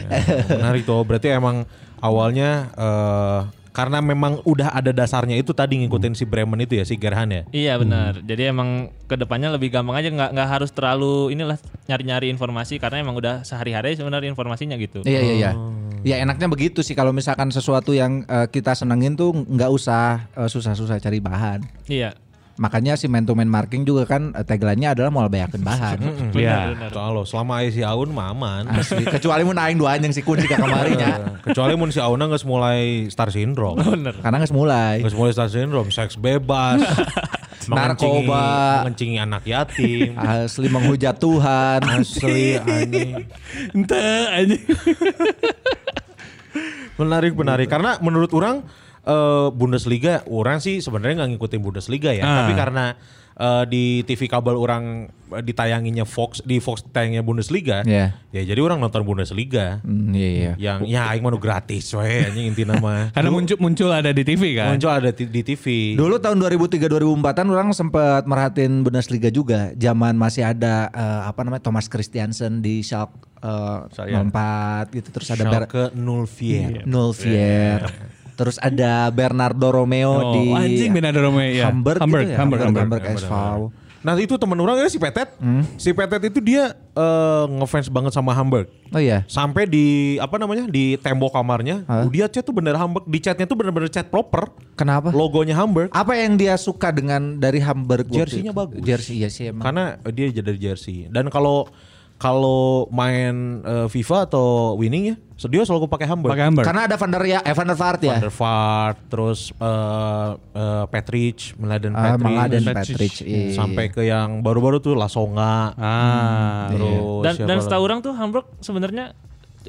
Ya, menarik tuh. Berarti emang awalnya eh, karena memang udah ada dasarnya itu tadi ngikutin si Bremen itu ya si Gerhan ya.
Iya
Hmm.
benar. Jadi emang kedepannya lebih gampang aja nggak nggak harus terlalu inilah nyari-nyari informasi karena emang udah sehari-hari sebenarnya informasinya gitu.
Iya iya iya. Ya enaknya begitu sih kalau misalkan sesuatu yang eh, kita senengin tuh nggak usah eh, susah-susah cari bahan.
Iya.
Makanya si man to man marking juga kan eh, tagline-nya adalah mau bayakin bahan.
Iya. Soal lo, selama si Aun mah aman. Eh,
Asli. Kecuali mun aing dua anjing si kun jika kemarin ya.
Kecuali mun si Auna nggak mulai star syndrome.
Karena nggak mulai.
Nggak mulai star syndrome, seks bebas. mengencingi-
Narkoba. Ah,
Mengencingi anak yatim.
Asli menghujat Tuhan. iya.
Asli anjing.
Ente aja.
Menarik,
Gitu.
menarik. Karena menurut orang eh, Bundesliga, orang sih sebenarnya nggak ngikutin Bundesliga ya. Tapi
Ah.
karena eh, di TV kabel orang eh, ditayanginnya Fox, di Fox tayangnya Bundesliga,
Iya.
ya jadi orang nonton Bundesliga.
Hmm, iya iya.
Yang ya aing mah nu gratis we anjing inti nama.
Karena muncul muncul ada di TV kan.
Muncul ada ti- di TV.
Dulu tahun 2003 2004-an orang sempat merhatiin Bundesliga juga. Zaman masih ada eh, apa namanya Thomas Christiansen di Schalke eh,
Saya.
04 gitu terus ada Ber Iya,
Schalke
Iya.
04.
Nulvier. Terus ada Bernardo Romeo
Oh,
di
anjing Bernardo Romeo, ya.
Hamburg,
Hamburg,
gitu ya.
Hamburg,
Hamburg,
Hamburg,
SV.
Nah itu temen orang ya si Petet.
Hmm.
Si Petet itu dia eh, ngefans banget sama Hamburg.
Oh iya.
Sampai di apa namanya di tembok kamarnya,
Hah?
dia cat tuh bener Hamburg. Di catnya tuh bener-bener cat proper.
Kenapa?
Logonya Hamburg.
Apa yang dia suka dengan dari Hamburg? waktu
Jersey-nya
itu?
bagus.
Jersey iya sih emang.
Karena dia jadi dari jersey. Dan kalau kalau main eh, FIFA atau winning ya, so dia selalu pakai Hamburg.
Pakai Hamburg.
Karena ada Van der ya, eh, Van der Vaart ya.
Van der Vaart, terus eh eh, Petrich, Meladen
Ah,
Petrich.
Meladen
Petrich.
Petrich. iya.
Sampai ke yang baru-baru tuh Lasonga. Hmm,
Ah,
Terus
Dan,
siapa
dan
lagi?
setahu orang tuh Hamburg sebenarnya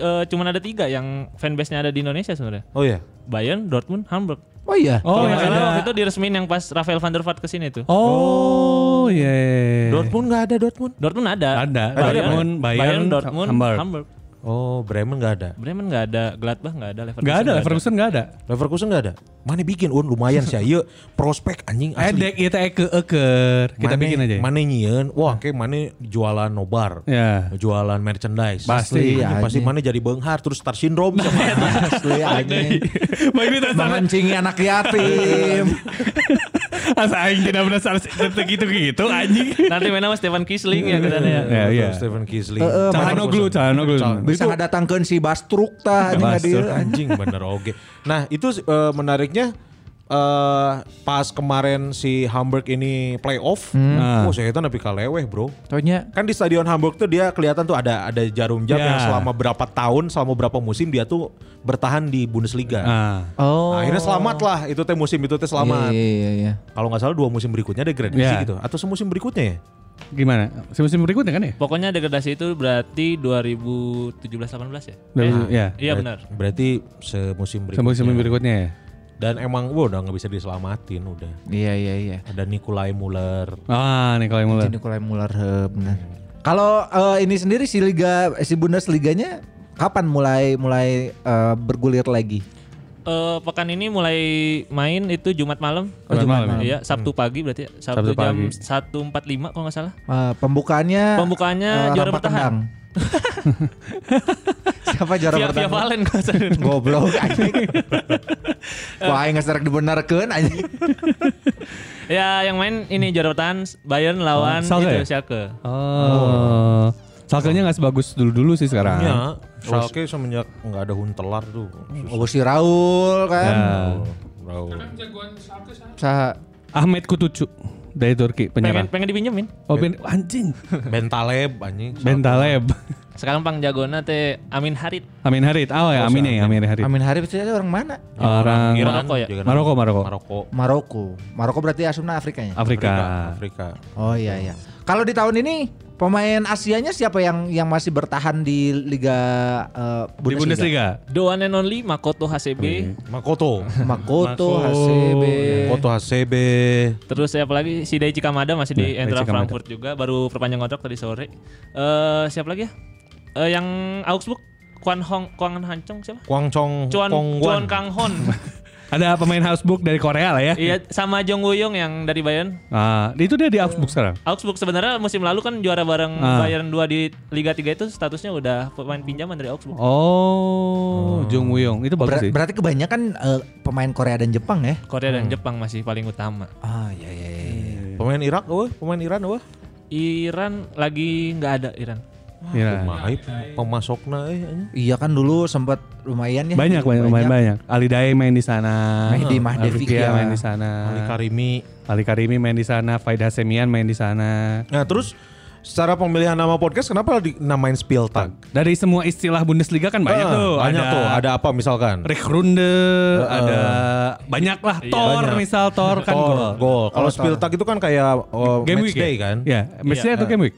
eh, cuman ada tiga yang fanbase-nya ada di Indonesia sebenarnya.
Oh iya.
Bayern, Dortmund, Hamburg.
Oh iya.
Oh,
Kalau nggak
yang
salah
ada-
waktu itu diresmin yang pas Rafael van der Vaart kesini tuh.
Oh, iya.
Dortmund nggak ada Dortmund.
Dortmund ada.
Ada. Dortmund, Bayern,
Dortmund,
Hamburg.
Hamburg.
Oh, Bremen nggak ada.
Bremen nggak ada, Gladbach nggak ada, Leverkusen
Gak ada, Ferguson gak ada.
Leverkusen nggak ada. Mana bikin un lumayan sih. Iya, prospek anjing asli.
Edek itu eke iya, eker. Kita
Mane-
bikin aja. ya?
Mane nyieun. Wah, kayak mana jualan nobar.
Ya.
Jualan merchandise.
Pasti,
Anjing,
anjing.
pasti mana jadi benghar terus star syndrome sama.
Asli anjing.
Bagi kita salah.
Mengencingi anak yatim.
Asa aing tidak pernah salah gitu-gitu anjing.
Nanti mainnya sama Stefan Kisling ya katanya ya.
Ya, iya.
Stephen Kisling.
Heeh,
Cahanoglu, Cahanoglu.
Bisa ngedatangkeun si Bastruk tah anjing hadir.
Bastard, anjing bener oke. Nah itu eh, menariknya eh pas kemarin si Hamburg ini playoff,
Hmm. Nah.
oh saya itu nepi kaleweh bro.
Tonya
Kan di stadion Hamburg tuh dia kelihatan tuh ada ada jarum jam
Ya.
yang selama berapa tahun, selama berapa musim dia tuh bertahan di Bundesliga.
Ah.
Oh.
Nah, akhirnya selamat lah itu teh musim itu teh selamat.
Iya iya iya.
Kalau nggak salah dua musim berikutnya degradasi
Ya.
gitu atau semusim berikutnya ya?
Gimana? Musim berikutnya kan ya?
Pokoknya degradasi itu berarti 2017-18 ya?
Dari- ya.
Iya benar.
Berarti semusim berikutnya.
Sampai musim berikutnya ya.
Dan emang wah, udah nggak bisa diselamatin udah.
Iya iya iya.
Ada Nikolai Muller.
Ah, Nikolai Muller.
Jadi mulai mular benar. Kalau eh, ini sendiri si liga si Bundesliganya kapan mulai mulai eh, bergulir lagi?
Eh, pekan ini mulai main itu Jumat malam.
Oh, Jumat malam. Hmm.
Iya, Sabtu pagi berarti ya. Sabtu,
Sabtu pagi.
jam 1.45 kalau nggak salah.
Eh, pembukaannya
Pembukaannya
eh,
juara
Rampak
bertahan.
Kendang. Siapa juara
Via, via
bertahan?
Valen kalau nggak salah.
Goblok anjing. Wah, aing ngeserek dibenerkeun anjing.
Ya, yang main ini juara bertahan Bayern lawan
Schalke ya?
itu Schalke.
Oh. Salkanya nggak sebagus dulu-dulu sih sekarang.
Ya, Schalke semenjak nggak ada Huntelar tuh.
Oh, si Raul kan.
Ya.
Raul.
Saha.
Ahmed Kutucu dari Turki
Pengen
penyerang.
pengen dipinjemin.
Oh, ben- anjing.
Bentaleb anjing.
Bentaleb.
Sekarang pang jagona teh Amin Harit.
Amin Harit. Oh ya, Amin ya, Amin Harit.
Amin Harif itu orang mana?
Orang
Maroko ya?
juga
Maroko,
namanya.
Maroko.
Maroko.
Maroko. Maroko berarti asumna Afrikanya.
Afrika.
Afrika.
Oh iya iya. Kalau di tahun ini pemain Asianya siapa yang yang masih bertahan di Liga eh,
Di Bundesliga.
The one and only Makoto HCB.
Makoto. Iya,
Makoto, Hasebe.
Makoto HCB.
Terus siapa lagi? Si Daichi Kamada masih di
Ya,
Entra
Daichi Kamada.
Frankfurt juga baru perpanjang kontrak tadi sore. Eh siapa lagi ya? Eh yang Augsburg Kwan Hong Kwan Hancong siapa?
Kwang Chong
Chuan
Kwang Wan.
Chuan Kang Hon.
Ada pemain Augsburg dari Korea lah ya.
Iya sama Jong Woyong yang dari Bayern.
Ah, itu dia di Augsburg sekarang.
Augsburg sebenarnya musim lalu kan juara bareng
Ah.
Bayern 2 di Liga 3 itu statusnya udah pemain pinjaman dari Augsburg.
Oh, Jung Woo-young itu
Ber-
bagus sih.
berarti kebanyakan eh, pemain Korea dan Jepang ya?
Korea dan Jepang masih paling utama.
Ah iya iya. iya.
Pemain Irak, oh, pemain Iran, oh.
Iran lagi nggak ada Iran.
Iya.
Mahai pemasokna eh anjing.
Iya kan dulu sempat lumayan ya.
Banyak banyak lumayan banyak. Alidae main di sana.
Main di Mahdi
Alfikia
Fikya.
main di sana.
Ali Karimi.
Ali Karimi main di sana, Faida Semian main di sana.
Nah, terus secara pemilihan nama podcast kenapa dinamain Spieltag?
Dari semua istilah Bundesliga kan banyak
Eh,
tuh.
Banyak tuh. Ada apa misalkan?
Runde, ada banyak lah. Tor
Iya, banyak.
misal Tor kan
Gol,
gol.
gol. Oh, Kalau Spieltag itu kan kayak oh,
Game
match
week
day
ya?
kan?
Iya, match day atau game week?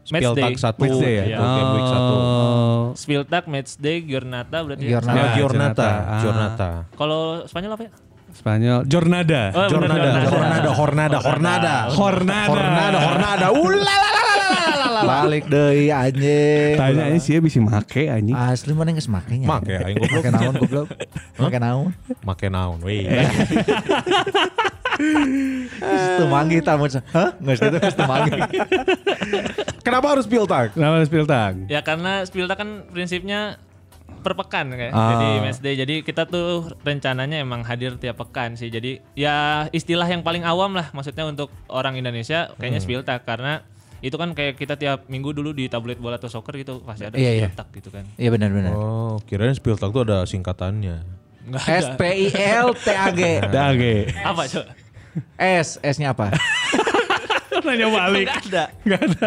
Spieltag
Matchday. Oh, iya.
satu,
Match day ya.
gitu, game week satu.
Oh.
Spieltag, Matchday, Giornata berarti ya.
Giornata.
Ya,
Ah,
Giornata,
Giornata.
Giornata.
Kalau Spanyol apa ya?
Spanyol, Jornada.
Oh,
Jornada,
bener, Jornada.
Hornada, Hornada, Hornada.
Hornada.
Hornada, Hornada. Ulala.
Balik deh anjing.
Tanya ini sih bisa make anjing.
Ah.
Asli mana nggak semakainya?
Make, aing goblok.
Make naon goblok. Make naon.
Make naon weh.
Itu manggih tamu. Hah? Nggak sih itu itu manggih.
Kenapa harus Spieltag?
Nama Spiltang.
Ya karena Spieltag kan prinsipnya per pekan kayak.
Ah.
Jadi matchday. Jadi kita tuh rencananya emang hadir tiap pekan sih. Jadi ya istilah yang paling awam lah maksudnya untuk orang Indonesia kayaknya Spieltag karena itu kan kayak kita tiap minggu dulu di tablet bola atau soccer gitu pasti
Iya,
ada
iya.
Spieltag gitu kan.
Iya benar-benar.
Oh, kirain Spieltag tuh ada singkatannya.
Enggak
S P I L T A G.
Dage.
Apa coba?
S S-nya apa?
Nanya balik.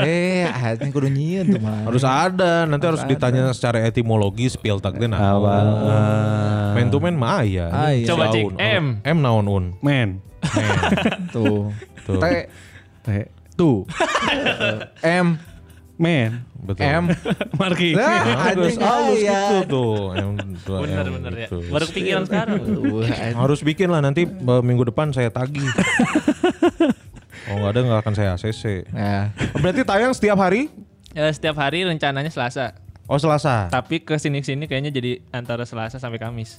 Eh, anjing kudu nyieun tuh mah.
Eh. Harus ada, nanti harus ditanya secara etimologi Spieltag teh nah.
Apa?
Man Ah. to man mah aya.
Ah, iya.
Coba
Naon,
cek, M.
M naon un.
Men.
tuh.
Tuh.
T
Eh, Tuh.
M
Men.
Betul.
M.
Marking.
Lah,
Ah,
anjing
terus
iya.
halus
aya.
gitu tuh. M dua M
Bener bener ya.
gitu.
Baru kepikiran sekarang.
Tuh, anjing.
Harus bikin lah nanti eh, minggu depan saya tagih. Oh nggak ada nggak akan saya ACC.
Nah,
Berarti tayang setiap hari?
Ya, setiap hari rencananya Selasa.
Oh Selasa.
Tapi ke sini-sini kayaknya jadi antara Selasa sampai Kamis.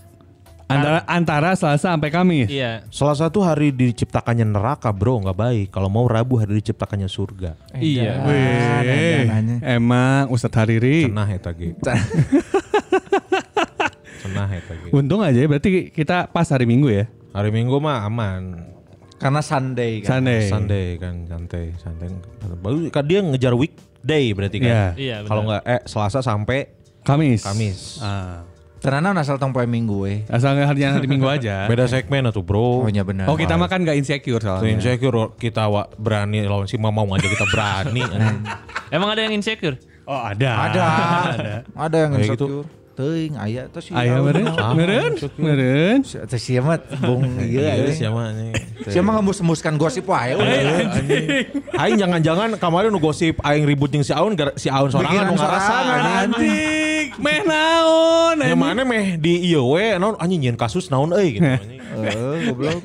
Antara antara Selasa sampai Kamis.
Iya.
Selasa tuh hari diciptakannya neraka bro, nggak baik. Kalau mau Rabu hari diciptakannya surga.
Iya.
Wih,
dananya.
emang Ustadz Hariri.
Cenah ya, eta ge. Cenah eta ge.
Untung aja ya, berarti kita pas hari Minggu ya.
Hari Minggu mah aman.
karena Sunday kan.
Sunday.
Sunday kan santai, santai. Baru kan dia ngejar weekday berarti kan.
Iya.
Iya, benar.
Kalau nggak eh Selasa sampai
Kamis.
Kamis.
Ah.
Ternyata asal tong poe minggu we.
Asal nggak harinya hari Minggu aja.
Eh, Beda segmen tuh bro.
Oh iya benar. Iya,
Oh kita mah kan nggak insecure
Tuh
soalnya.
insecure kita wa, berani lawan si Mamau aja kita berani.
Emang ada yang insecure?
Oh ada.
ada. ada yang
Kayak gitu.
insecure. Teuing aya terus iya, si
Ayah Ah, iya, meren, meren, meren.
Terus Sia mah bung ieu
Iya,
anjing.
siapa nih?
Sia mah ngembus-ngembuskan gosip ya, wae. we.
Iya,
Aing jangan-jangan kemarin nu gosip aing ribut jeung si Aun gara- si Aun sorangan
Pikiran
nu ngarasangan
sorangan,
anjing.
Anjing, meh naon
Ya
anjing.
mana meh di ieu we naon anjing nyeun kasus naon euy gitu anjing.
Heeh, Eh, goblok.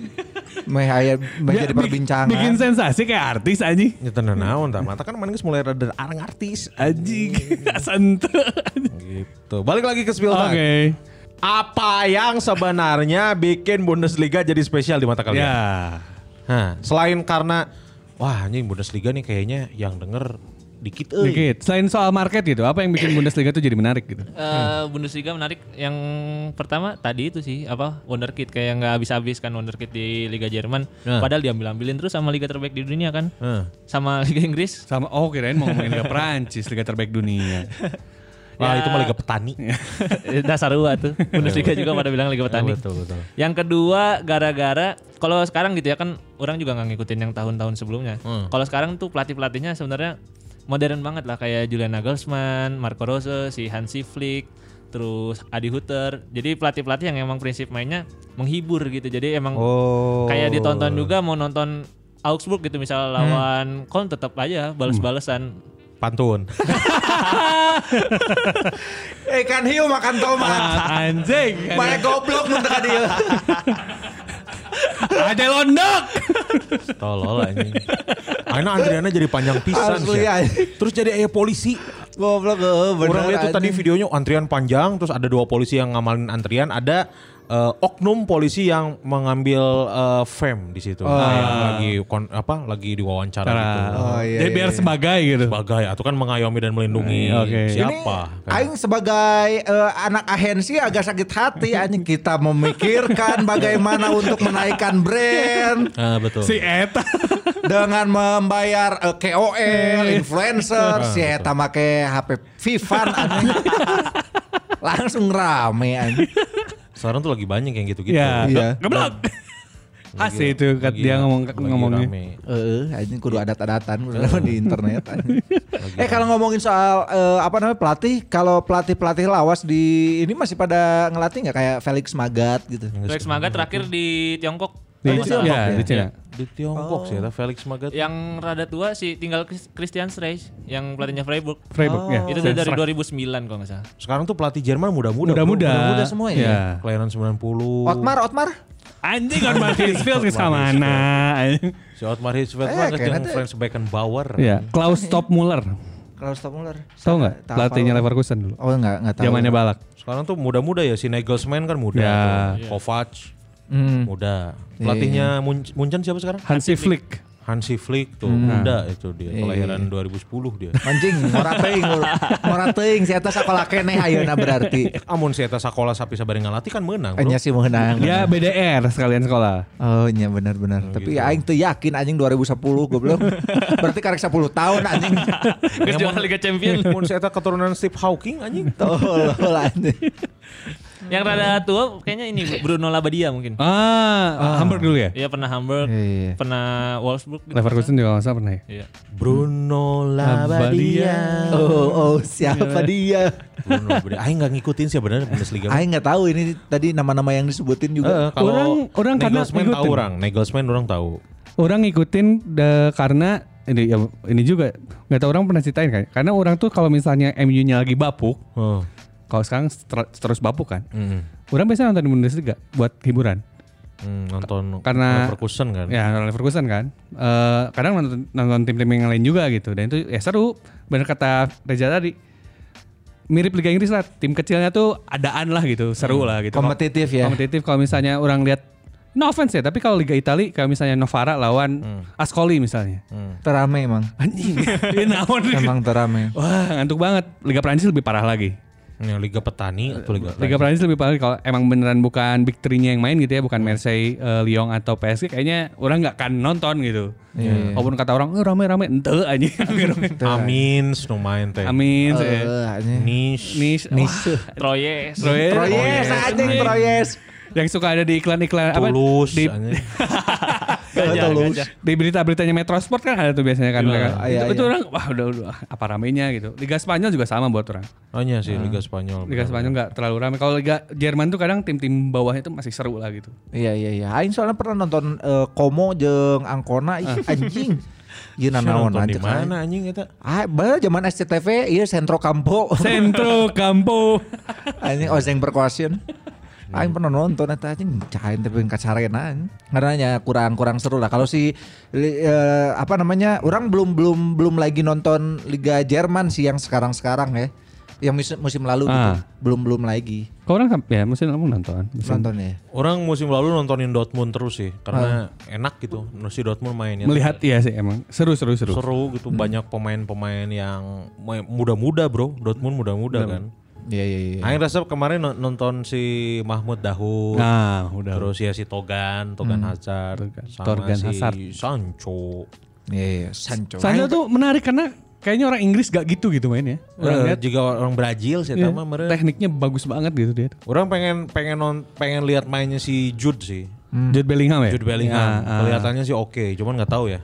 Meh aya meh jadi perbincangan.
Bikin sensasi kayak artis anjing.
Ya tenan naon tah mata kan mana geus mulai rada arang artis
Anjing, santai.
gitu. Balik lagi ke Spieltag.
Oke.
Apa yang sebenarnya bikin Bundesliga jadi spesial di mata kalian?
Ya.
Hah, selain karena wah anjing Bundesliga nih kayaknya yang denger dikit
Iya.
euy.
Dikit. Selain soal market gitu, apa yang bikin Bundesliga tuh jadi menarik gitu?
Eh, Bundesliga menarik yang pertama tadi itu sih apa wonderkid kayak nggak habis-habis kan wonderkid di Liga Jerman padahal diambil-ambilin terus sama liga terbaik di dunia kan
Heeh.
sama Liga Inggris
Sama oh kirain mau ngomongin Liga Prancis, Liga terbaik dunia.
Wah,
Ya.
itu malah Liga petani.
dasar dua tuh Bundesliga juga pada bilang Liga Petani
betul.
yang kedua gara-gara kalau sekarang gitu ya kan orang juga nggak ngikutin yang tahun-tahun sebelumnya kalau sekarang tuh pelatih-pelatihnya sebenarnya modern banget lah kayak Julian Nagelsmann, Marco Rose, si Hansi Flick terus Adi Hutter jadi pelatih-pelatih yang emang prinsip mainnya menghibur gitu jadi emang kayak ditonton juga mau nonton Augsburg gitu misal lawan Köln tetap aja balas-balesan
Pantun.
Eh kan hiu makan tomat.
Ah, Anjing.
Mana goblok mun teu ka dieu.
Ada londok.
Tolol anjing. Akhirnya antriannya jadi panjang pisan
Asli,
sih.
anjing.
Terus jadi ayah polisi.
Goblok heuh, bener.
Orang lihat tuh tadi
anjing.
videonya antrian panjang, terus ada dua polisi yang ngamalin antrian, ada eh, oknum polisi yang mengambil eh, fame di situ. Nah, Yang lagi kon- apa lagi diwawancara
Nah.
gitu.
Oh, iya,
Jadi
iya,
biar
iya.
sebagai gitu.
Sebagai atau kan mengayomi dan melindungi
Hmm, oke.
siapa?
Ini
kan.
aing sebagai eh, anak ahensi agak sakit hati anjing kita memikirkan bagaimana untuk menaikkan brand
Ah, betul.
Si Eta.
dengan membayar eh, KOL,
Iya. Ah,
influencer, si
betul.
eta make HP Vivan anjing. Langsung rame anjing.
Sekarang tuh lagi banyak yang gitu-gitu.
Ya.
Iya.
Geblok. Asli itu kat
Lagi-
dia ngomong
lagi
ngomongnya.
rame.
Heeh, anjing kudu
Iya.
adat-adatan kudu apa di internet anjing. eh kalau ngomongin soal eh, apa namanya pelatih, kalau pelatih-pelatih lawas di ini masih pada ngelatih nggak kayak Felix Magat gitu.
Felix Maga terakhir di Tiongkok.
Oh,
Di,
Kalau nggak salah.
ya, di Cina.
Di Tiongkok sih, ada Felix Magath.
Yang rada tua sih tinggal Chris- Christian Streich yang pelatihnya Freiburg.
Freiburg
Oh,
ya.
Itu
Saya
dari
serak.
2009 kalau nggak salah.
Sekarang tuh pelatih Jerman muda-muda. bro.
muda-muda.
Muda-muda semua ya?
Iya.
Kelahiran 90.
Otmar, Otmar.
Anjing on Matisfield ke
Otmar
mana?
Si Otmar Hitzfeld
Eh,
banget
kayaknya
yang
tuh-
Franz Beckenbauer.
Iya, Klaus
ya?
Toppmuller.
Kalau Stoppmuller.
Tahu nggak?
Tak
Pelatihnya
hafal.
Leverkusen dulu.
Oh enggak, enggak tahu.
Zamannya Balak.
Sekarang tuh muda-muda ya si Nagelsmann kan muda.
Ya.
Iya.
tuh. Kovac
Hmm.
muda.
Iya.
Pelatihnya Mun- Munchen siapa sekarang?
Hansi Flick.
Hansi Flick tuh muda itu dia. Kelahiran 2010 dia.
Anjing, ngora teuing, ngora teuing si eta sakola keneh ayeuna berarti.
Amun si Eta Sakola Sapi Sabari ngelatih kan menang bro.
Anya sih mau menang.
Dia BDR sekalian sekolah.
Oh iya benar-benar. Tapi aing tuh yakin anjing 2010 goblok. Berarti karek 10 tahun anjing.
Chris juara Liga Champion.
Amun si Eta keturunan Steve Hawking anjing.
Tolol anjing.
yang rada tua kayaknya ini Bruno Labadia mungkin.
Ah, Hamburg dulu ya?
Iya pernah Hamburg,
Iya.
pernah Wolfsburg. gitu.
Leverkusen juga nggak salah pernah ya?
Iya.
Bruno Labbadia.
Oh, oh siapa dia?
Bruno Labbadia. Aing nggak ngikutin sih benar Bundesliga.
Aing nggak tahu ini tadi nama-nama yang disebutin juga.
Eh, kalau
Orang- orang karena
Nagelsmann tahu
ngikutin.
orang, Nagelsmann orang tahu.
Orang ngikutin de- karena ini, ya, ini juga nggak tahu orang pernah ceritain kan? Karena orang tuh kalau misalnya MU-nya lagi bapuk,
Heeh.
kalau sekarang seter- terus bapuk kan, orang biasanya nonton Bundesliga buat hiburan.
Hmm, nonton
Karena-
Leverkusen kan.
Ya nonton Leverkusen kan. Eh, kadang nonton, nonton tim-tim yang lain juga gitu. Dan itu ya seru. Bener kata Reza tadi. Mirip Liga Inggris lah. Tim kecilnya tuh adaan lah gitu. Seru lah gitu.
Kompetitif ya.
Kompetitif kalau misalnya orang lihat No offense ya, tapi kalau Liga Itali kalau misalnya Novara lawan Ascoli misalnya.
Terame emang.
Anjing. Ini naon nih.
Emang terame.
Wah, ngantuk banget. Liga Prancis lebih parah lagi.
Ya, Liga petani atau Liga
Liga Prancis lebih parah kalau emang beneran bukan big three-nya yang main gitu ya,
Hmm.
bukan Marseille, eh, Lyon atau PSG kayaknya orang nggak akan nonton gitu.
Iya.
Walaupun kata orang "Eh, rame-rame, ente aja.
Amin, no main teh.
Amin. saya.
Eh, anjing.
Nish.
Nis, wah,
Troyes.
Troyes.
Troyes anjing Troyes.
yang suka ada di iklan-iklan apa
Tulus.
di
anjing.
Gajah, gajah.
di berita-beritanya Metrosport kan ada tuh biasanya kan mereka.
iya, iya.
itu, itu orang wah udah, udah apa ramenya gitu. Liga Spanyol juga sama buat orang.
Hanya Oh, iya sih Liga Spanyol.
Hmm.
Nah,
Liga Spanyol nggak terlalu rame. Kalau Liga Jerman tuh kadang tim-tim bawahnya tuh masih seru lah gitu.
Iya iya iya. Aing soalnya pernah nonton eh, Komo jeung Angkona ih, anjing. Ieu
Saya
nanaon
nonton
Ah.
di
Iya, anjing.
mana anjing eta?
Ah, bener zaman SCTV ieu iya, Sentro Campo.
Centro Campo.
anjing Ozeng percussion.
Hmm.
Aing pernah nonton eta anjing cahain tapi kacarena anjing. Karena ya kurang-kurang seru lah. Kalau si li- eh, apa namanya? Orang belum belum belum lagi nonton Liga Jerman sih yang sekarang-sekarang ya. Yang musim, musim lalu gitu.
Ah.
Belum belum lagi
Kau orang sam- ya mesti kamu nonton. Mesti
nonton ya.
Orang musim lalu nontonin Dortmund terus sih karena enak gitu. Si Dortmund mainnya.
Ah. Melihat Hmm. iya sih emang seru seru seru.
seru gitu banyak pemain-pemain yang main- muda-muda bro Dortmund muda-muda kan
Iya iya iya.
Aing rasa kemarin no- nonton si Mahmud Dahoud
Nah, udah.
terus ya si Togan Togan
Hmm.
Hazard
Togan.
sama
Torgan
si
Hazard.
Sancho
Iya iya, Sancho.
Sancho tuh menarik karena kayaknya orang Inggris gak gitu gitu mainnya. Orang
Eh,
lihat
juga orang Brazil sih
iya,
tama meren.
tekniknya bagus banget gitu dia. tuh.
Orang pengen pengen non, pengen lihat mainnya si Jude sih.
Jude Bellingham ya.
Hmm. Jude Bellingham.
Ya, ah.
Kelihatannya sih oke, cuman nggak tahu ya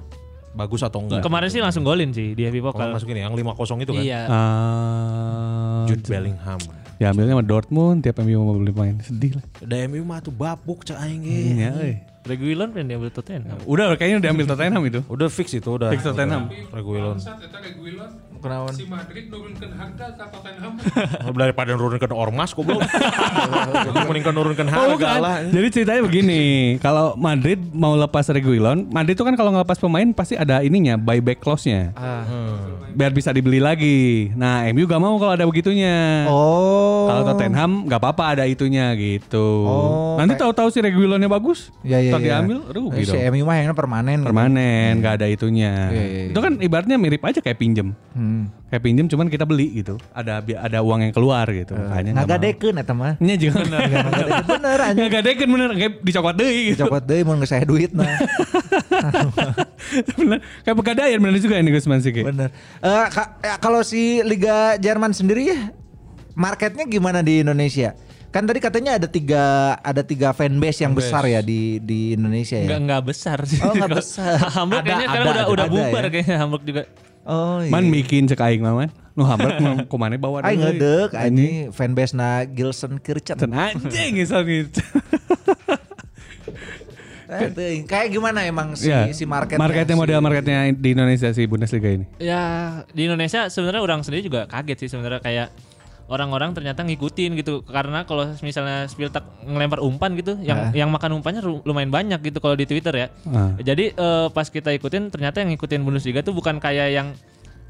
bagus atau enggak.
Kemarin sih langsung golin sih di Happy
Oh,
Kalau
Pokal.
masukin yang 5-0 itu kan.
Iya.
Ah,
Jude Bellingham.
Ya ambilnya sama Dortmund tiap MU mau beli main sedih lah.
Da MU mah tuh babuk cah aing ge.
Iya, euy.
Reguilon pengen diambil Tottenham.
Udah kayaknya udah ambil Tottenham itu.
Udah fix itu udah.
Fix Tottenham.
Udah, Reguilon.
Saat kita Reguilon,
Kenawan.
si Madrid nurunkan harga ke Tottenham.
Oh, Daripada nurunkan ormas goblok. Mendingan Nah, nurunkan harga
Oh, bukan.
lah.
Jadi ceritanya begini, kalau Madrid mau lepas Reguilon, Madrid itu kan kalau ngelepas pemain pasti ada ininya buyback clause-nya.
Ah.
Biar bisa dibeli lagi. Nah, MU gak mau kalau ada begitunya.
Oh.
Kalau Tottenham nggak apa-apa ada itunya gitu.
Oh,
Nanti
kayak-
tahu-tahu si Reguilonnya bagus,
Ya ya.
ntar
ya.
diambil, rugi
Si
dong.
MU mah yang permanen.
Permanen, nggak ada itunya.
Iya, iya, iya.
Itu kan ibaratnya mirip aja kayak pinjem.
Hmm.
Kayak pinjem cuman kita beli gitu. Ada bi- ada uang yang keluar gitu. Makanya nggak mau.
Ngagadekeun eta mah.
Nya juga bener.
Eh, Bener anjing.
Nggak gadekeun bener, kayak dicokot deui gitu.
Dicopot deui mun ngeseh duit nah.
bener. Kayak pegadaian bener juga ini Gusman Siki.
Bener. Eh, ka- eh, kalau si Liga Jerman sendiri ya marketnya gimana di Indonesia? Kan tadi katanya ada tiga ada tiga fanbase yang besar ya di di Indonesia ya.
Enggak enggak besar sih.
Oh, nggak besar.
Hamburg
Ada-
kayaknya sekarang
ada-
udah udah
ada
bubar
ya.
kayaknya Hamburg juga.
Oh iya.
Man bikin cek aing mah man. Nu hamburg mah kumane bawa
Aing
deui.
ngedek, ini fanbase na Gilson Kirchen.
Cen anjing iso gitu.
Eh, teuing. Kayak gimana emang si,
Ya,
si marketnya?
Marketnya
si-
model marketnya di Indonesia sih Bundesliga ini.
Ya di Indonesia sebenarnya orang sendiri juga kaget sih sebenarnya kayak orang-orang ternyata ngikutin gitu karena kalau misalnya Spiltak ngelempar umpan gitu yang yang makan umpannya ru- lumayan banyak gitu kalau di Twitter ya.
Ah.
Jadi eh, pas kita ikutin ternyata yang ngikutin Bundesliga tuh bukan kayak yang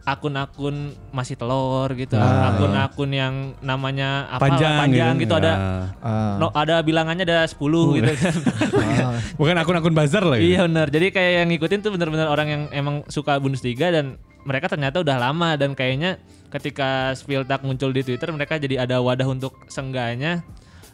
akun-akun masih telur gitu, akun-akun yang namanya apa
Panjang
panjang,
gitu.
gitu, ada
Ah.
no, ada bilangannya ada 10 gitu kan.
Ah.
Bukan akun-akun bazar lah gitu.
Iya benar. Jadi kayak yang ngikutin tuh benar-benar orang yang emang suka Bundesliga dan mereka ternyata udah lama dan kayaknya ketika Spieltag muncul di Twitter mereka jadi ada wadah untuk sengganya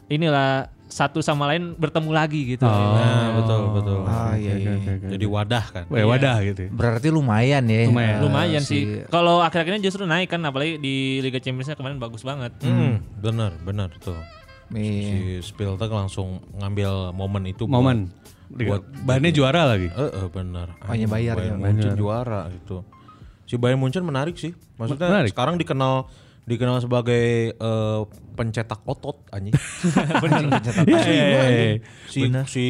inilah satu sama lain bertemu lagi gitu.
Nah, betul betul.
Ah, iya, iya.
Jadi wadah kan.
Weh, wadah gitu.
Berarti lumayan ya. Ah,
Lumayan.
Lumayan
si-
sih. Kalau akhir-akhirnya justru naik kan apalagi di Liga Championsnya kemarin bagus banget.
Hmm, benar benar tuh.
Iya.
Si Spiltek langsung ngambil momen itu. buat-
Momen.
Iya.
Buat-
Bahannya juara lagi.
Eh, eh, benar.
Hanya bayar ya.
Bayern Munchen juara gitu. Si Bayern Munchen menarik sih. Maksudnya
Menarik.
sekarang dikenal dikenal sebagai eh, pencetak otot anjing.
Iya, iya, iya.
si si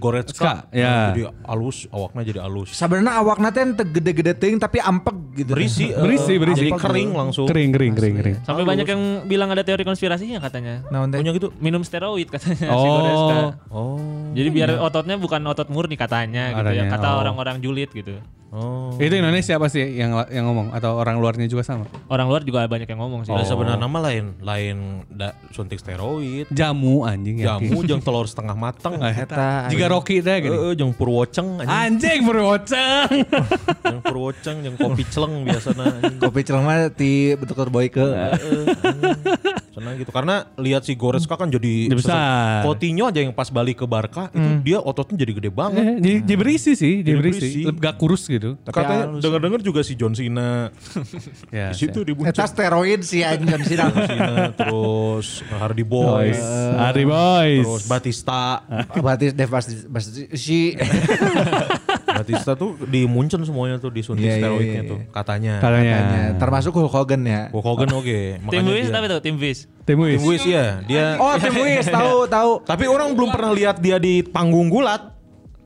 Goretzka nah,
Ska, ya.
jadi alus, awaknya jadi alus.
Sebenarnya awaknya teh teu gede-gede teuing tapi ampek gitu.
Berisi, eh,
Berisi, berisi.
Jadi kering langsung.
Kering, kering, kering, kering.
Sampai banyak yang bilang ada teori konspirasinya katanya.
Nah, untuk
Punya gitu.
Minum steroid katanya si Goretzka.
Oh,
Oh.
Jadi biar ototnya bukan otot murni katanya gitu ya.
Katanya,
Kata
oh.
orang-orang julid gitu.
Oh.
itu Indonesia pasti yang yang ngomong atau orang luarnya juga sama.
Orang luar juga banyak yang ngomong sih.
Ada sebenarnya nama lain, lain da, suntik steroid,
Jamu anjing ya.
jamu, jeng telur setengah matang,
Eta
Jika Rocky teh gini.
eh, eh, jeng purwoceng, anjing.
Anjing berwoceng.
jeng purwoceng, jeng kopi celeng biasanya. anjing. Eh,
kopi celema ti betul boy ke.
Senang gitu karena lihat si Goretzka kan jadi
Jadi besar. Hmm.
sosok- Coutinho aja yang pas balik ke Barca itu dia ototnya jadi gede banget.
Eh, Jadi jadi berisi sih, jadi
Jadi
berisi.
berisi.
Leb- Gak kurus gitu.
Katanya dengar-dengar juga si John Cena
Ya.
di situ di
Eta steroid sih anjing sidang.
Cena terus Hardy
Boys,
Boys,
Ari boys.
terus Batista.
Batis devas Batis- si
Batista tuh di Munchen semuanya tuh disuntik
Iya, iya,
steroidnya
iya.
tuh katanya.
Katanya.
termasuk Hulk Hogan ya.
Hulk Hogan oke,
Tim
makanya
Wis
dia-
tapi tuh tim Wis.
Tim
Tim
Wis.
Wis ya, dia
Oh, Tim Wis tahu tahu.
tapi orang belum pernah lihat dia di panggung gulat.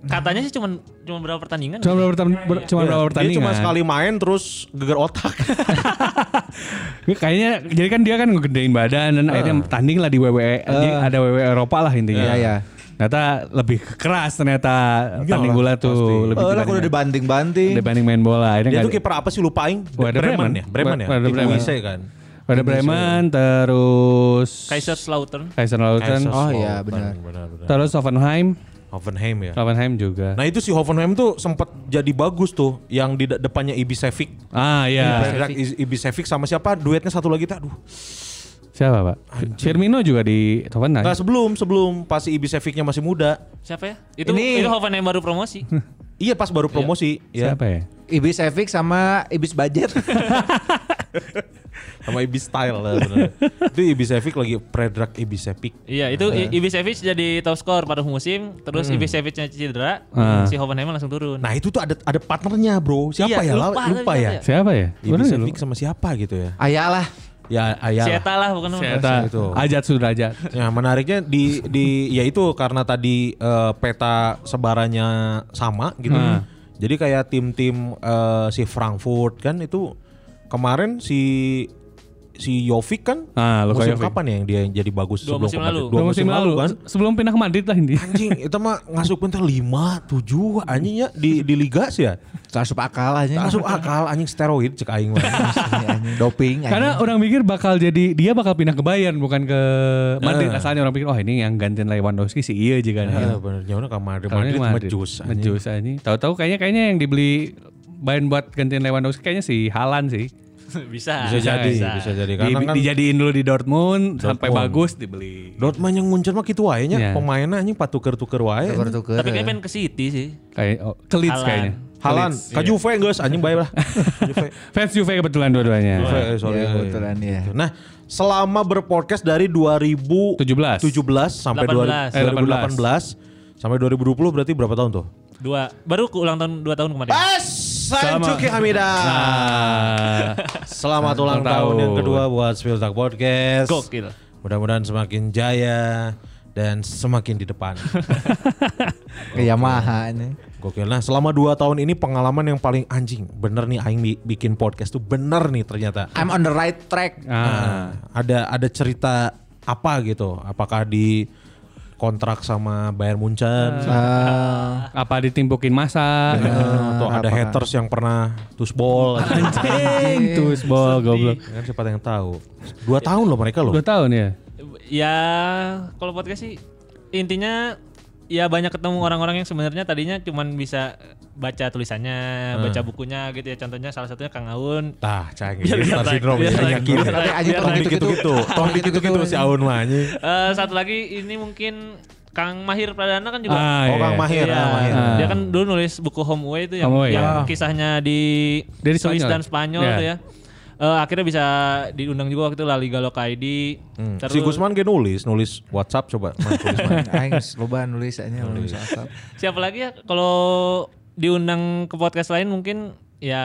Katanya sih cuman cuman berapa pertandingan?
Cuma berapa pertam- ber- cuma
Iya,
berapa
Dia
pertandingan?
cuma sekali main terus geger otak.
Kayaknya jadi kan dia kan ngegedein badan dan akhirnya tanding lah di WWE. Jadi ada WWE Eropa lah intinya.
Iya, iya.
Ternyata lebih keras ternyata tanding bola tuh lebih
Oh, lah kudu
dibanding,
dibanting-banting.
dibanding main bola. Akhirnya
Dia tuh
nggak-
kiper apa sih lupa aing?
Werder Bremen.
ya, Bremen ya.
Werder
Tim
Bremen.
Wisse kan.
Pada Bremen terus
Kaiserslautern.
Kaiserslautern,
Oh, iya, benar.
Eh, Benar benar.
terus Hoffenheim,
Hoffenheim ya.
Hoffenheim juga.
Nah itu si Hoffenheim tuh sempat jadi bagus tuh yang di de- depannya Ibisevic.
Ah iya.
Ibra- I- Ibisevic sama siapa? Duetnya satu lagi tuh. Aduh.
Siapa, Pak? Firmino juga di Hoffenheim.
Nah, sebelum sebelum pas si Ibisevicnya masih muda.
Siapa ya? Itu
Ini-
itu Hoffenheim baru promosi.
Iya pas baru promosi ya.
Siapa ya?
Ibis Efik sama Ibis Budget.
Sama Ibis Style lah benar. itu Ibisevic lagi Predrag Ibisevic.
iya, itu I- Ibisevic jadi top skor pada musim, terus Ibisevicnya cedera,
Ah.
si Hoffenheim langsung turun.
Nah itu tuh ada ada partnernya bro. Siapa
Iya,
ya? Lupa,
lupa,
lupa
tapi
ya.
siapa
Siapa ya? Bener nggak
Ibisevic
lu?
sama siapa gitu ya?
Ayalah.
Ya ayah.
Si Eta lah bukan
Si Eta,
Itu.
ajat sudrajat.
Ya menariknya di di ya itu karena tadi eh, peta sebarannya sama gitu.
Hmm.
Jadi kayak tim-tim eh, si Frankfurt kan itu kemarin si si Jovic kan
Ah, Luka
musim
Jovic.
kapan ya yang dia jadi bagus
Dua
sebelum
musim
ke Madrid?
lalu.
Dua musim, lalu, kan.
se- sebelum pindah ke Madrid lah ini.
Anjing, itu mah ngasupin teh 5 7 anjing ya di di liga sih ya.
Asup akal aja.
Asup akal anjing steroid cek aing mah.
Iya, Anjing, Doping. anjing.
Karena orang mikir bakal jadi dia bakal pindah ke Bayern bukan ke Madrid.
Eh.
Asalnya orang pikir oh ini yang gantiin Lewandowski si iya juga nih.
Iya bener nyawa ke Madrid
Tahunya
Madrid
ke
mejus anjing.
Mejus anjing. Tahu-tahu kayaknya kayaknya yang dibeli Bayern buat gantiin Lewandowski kayaknya si Halan sih.
bisa.
Bisa jadi, bisa jadi karena
Di-
kan
dijadiin dulu di Dortmund, sampai
Dortmund.
bagus dibeli.
Dortmund yang muncul mah gitu wae
Iya.
nya. Pemainnya anjing patuker-tuker wae.
Tuker-tuker.
Tapi kayaknya pengen ke City sih.
Kayak oh, ke Leeds
Haaland.
kayaknya.
Halan,
Leeds,
ka
iya.
Juve geus anjing bae lah. Juve.
Fans Juve kebetulan dua-duanya.
Juve, eh, sorry.
Iya, kebetulan, iya.
Nah, selama berpodcast dari
17.
2017 sampai eh,
18.
2018, 2018 sampai 2020 berarti berapa tahun tuh?
Dua. Baru ke ulang tahun dua tahun kemarin.
Sanjuki Hamida. Selamat ulang
Ulang tahun.
tahun yang kedua buat Spiltak Podcast.
Gokil.
Mudah-mudahan semakin jaya dan semakin di depan.
Ke Yamaha ini.
Gokil. Nah, selama 2 tahun ini pengalaman yang paling anjing. Bener nih aing bi- bikin podcast tuh bener nih ternyata.
I'm on the right track.
Ah.
Nah, ada ada cerita apa gitu? Apakah di kontrak sama Bayern Munchen
Eh,
Ah.
Apa ditimpukin masa?
Eh, atau ada haters yang pernah tusbol
Anjing, tuh bol Gitu, goblok.
kan siapa yang tahu dua tahun loh mereka loh
Dua tahun ya?
Ya kalau podcast sih intinya ya banyak ketemu orang-orang yang sebenarnya tadinya cuman bisa baca tulisannya,
Hmm.
baca bukunya gitu ya. Contohnya salah satunya Kang Aun.
Tah, canggih.
Biar
Star
naik,
syndrome
biar
ya,
naik,
yakin.
biar naik,
Anjing,
biar
tong
naik.
gitu-gitu. Tong gitu-gitu si Aun mah anjing.
Eh, satu lagi ini mungkin Kang Mahir Pradana kan juga
Ah,
Oh,
iya.
Kang Mahir,
Iya,
Kang Mahir.
Ah.
Dia kan dulu nulis buku Home Away itu yang,
Home Away,
yang
ya.
kisahnya di
Dia di
Swiss
Spanyol.
dan Spanyol
Iya.
itu ya. Eh, akhirnya bisa diundang juga waktu itu La Liga Lokaidi.
Hmm. Si Gusman ge nulis, nulis WhatsApp coba. Man, tulis, man.
Aing loba nulisannya nulis asal.
Siapa lagi ya kalau diundang ke podcast lain mungkin ya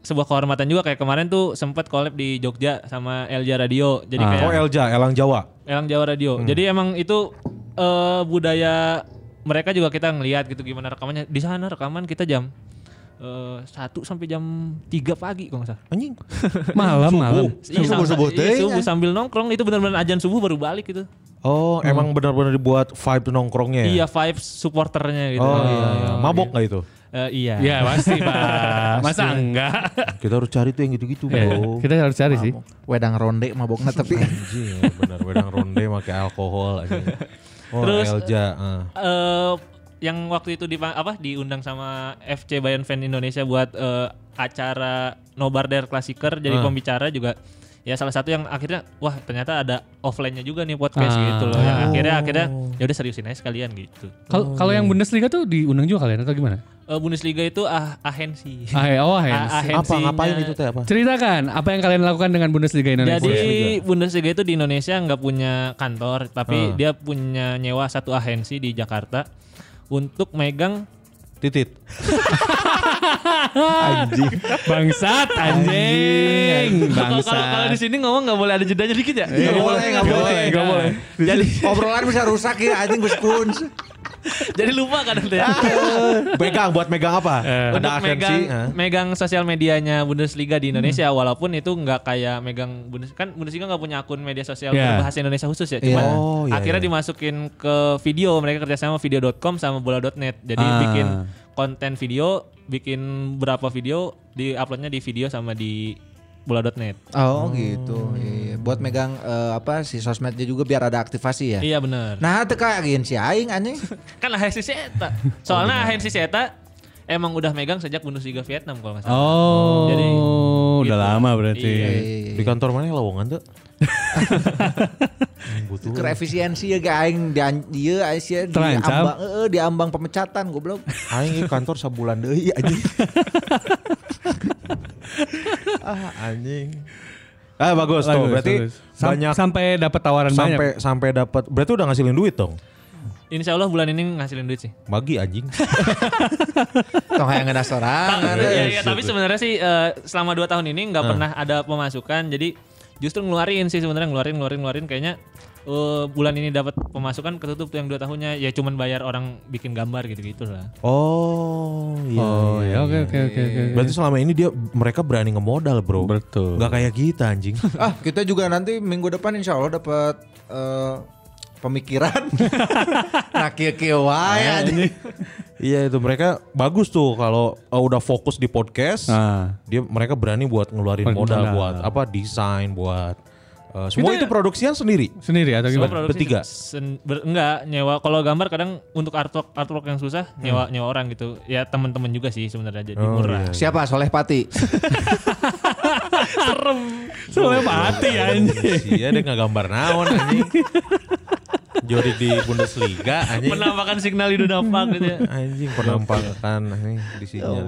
sebuah kehormatan juga kayak kemarin tuh sempat collab di Jogja sama Elja Radio. Jadi kayak
Oh, Elja, Elang Jawa.
Elang Jawa Radio. Jadi emang itu eh, budaya mereka juga kita ngelihat gitu gimana rekamannya. Di sana rekaman kita jam eh, satu sampai jam 3 pagi kalau nggak salah.
Anjing.
Malam, malam.
Iya,
Subuh,
sama-
subuh
iya,
teh,
subuh
ya.
sambil nongkrong itu benar-benar ajan subuh baru balik gitu.
Oh, emang benar-benar dibuat vibe nongkrongnya ya?
Iya, vibes supporternya gitu.
Oh, iya, iya. Mabok nggak itu?
Eh, iya.
Ya pasti pak. Masa enggak?
Kita harus cari tuh yang gitu-gitu,
Ya,
Bro.
Oh.
kita harus cari sih.
Wedang ronde mabokna Nah, tapi
Anjing, ya, benar wedang ronde pakai alkohol anjing. Oh,
Terus,
Elja. ah.
Eh, yang waktu itu di apa diundang sama FC Bayern Fan Indonesia buat eh, acara Nobar Der Klasiker jadi pembicara juga ya salah satu yang akhirnya wah ternyata ada offline-nya juga nih podcast
Ah.
gitu loh yang akhirnya akhirnya ya udah seriusin aja sekalian gitu.
Kalau kalau yang Bundesliga tuh diundang juga kalian atau gimana?
Eh, Bundesliga itu ah ahensi.
Ah, ya, oh, ya.
Ah,
Apa
ahensinya-
ngapain itu teh apa?
Ceritakan apa yang kalian lakukan dengan Bundesliga Indonesia?
Jadi Bundesliga Ah. itu di Indonesia nggak punya kantor, tapi dia punya nyewa satu ahensi di Jakarta untuk megang
Titit.
bangsat anjing,
Kalau- kalau kalau di
bangsat.
sini ngomong nggak boleh ada jedanya dikit
Iya,
ya?
Eh,
Nggak boleh, nggak boleh.
nggak boleh. Jadi
obrolan bisa rusak ya anjing Gus Kun.
jadi lupa kadang ya. teh.
Megang buat megang apa? Ada
Untuk megang,
agensi. ah.
megang sosial medianya Bundesliga di Indonesia, walaupun itu nggak kayak megang Bundes, kan Bundesliga nggak punya akun media sosial
Yeah.
berbahasa Indonesia khusus ya.
Iya.
Cuman
Oh, iya,
akhirnya
iya.
dimasukin ke video mereka kerjasama video.com sama bola.net. Jadi
Ah.
bikin konten video, bikin berapa video di uploadnya di video sama di bola.net.
Oh gitu. Iya, buat megang eh, apa si sosmednya juga biar ada aktivasi ya.
Iya bener
Nah, teka agensi aing anjing.
kan Ahensi si
Oh,
Eta. Soalnya Ahensi si Eta emang udah megang sejak Bundesliga Vietnam kalau nggak salah.
Oh,
Jadi,
udah
gitu.
lama berarti.
Iya.
Di kantor mana lowongan tuh? Butuh.
Keur efisiensi ya ge aing di ieu aing sia di
Terancam.
ambang heeh di ambang pemecatan goblok.
Aing ke kantor sebulan deui anjing. ah anjing. Ah bagus tuh.
Bagus,
Berarti
bagus. Sam-
banyak
sampai dapat tawaran
sampai
banyak.
sampai dapat. Berarti udah ngasilin duit dong.
Insya Allah bulan ini ngasilin duit sih.
Bagi anjing.
Tong hayang ngena sorangan.
Nah.
Iya, iya, tapi sebenarnya sih eh, selama 2 tahun ini nggak pernah ada pemasukan. Jadi justru ngeluarin sih sebenarnya ngeluarin ngeluarin ngeluarin kayaknya eh, bulan ini dapat pemasukan ketutup tuh yang dua tahunnya ya cuman bayar orang bikin gambar gitu gitu lah
Oh, iya.
Oh
iya.
ya oke oke oke oke.
Berarti selama ini dia mereka berani ngemodal, Bro.
Betul.
Gak kayak kita anjing.
Ah, kita juga nanti minggu depan insya Allah dapat eh, pemikiran. nah, kio ya.
Iya itu mereka bagus tuh kalau uh, udah fokus di podcast,
Ah.
dia mereka berani buat ngeluarin
Buat
modal
modal.
buat apa desain buat uh, semua itu,
Itu-
produksian sendiri.
Sendiri atau
Semua
gimana?
produksi
Bertiga?
sen- ber- enggak nyewa kalau gambar kadang untuk artwork artwork yang susah nyewa
Hmm.
nyewa orang gitu ya teman-teman juga sih sebenarnya jadi
Oh, iya.
murah
Siapa? Soleh Pati.
Soalnya mati anjing.
Iya dia nggak gambar naon anjing. Jori di Bundesliga anjing.
menampakkan signal di dampak gitu ya
Anjing penampakan anjing di sini.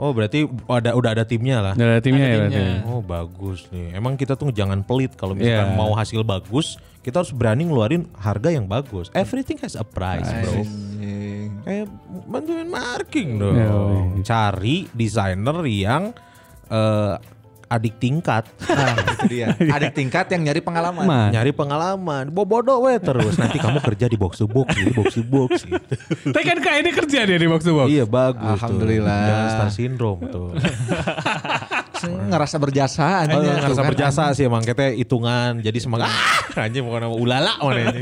Oh berarti ada udah ada timnya lah.
Udah ada timnya
Ada
ya
timnya.
berarti.
Oh bagus nih. Emang kita tuh jangan pelit kalau misalkan
Iya.
mau hasil bagus, kita harus berani ngeluarin harga yang bagus. Everything has a price, bro. Eh bantuin marking dong.
Iya, iya.
Cari desainer yang eh, adik tingkat,
Ah.
Nah, itu dia. Adik tingkat yang nyari pengalaman.
Man.
nyari pengalaman. Bobodo we terus. Nanti kamu kerja di box to box, di box to box gitu.
Tapi kan Kak ini kerja dia di box to box.
Iya bagus.
Alhamdulillah.
Tuh. Jangan star syndrome tuh.
Ngerasa berjasa aja.
Oh,
tuh
ngerasa
kan.
berjasa sih emang kita hitungan jadi semangat ah, anjing bukan nama ulala mana ini.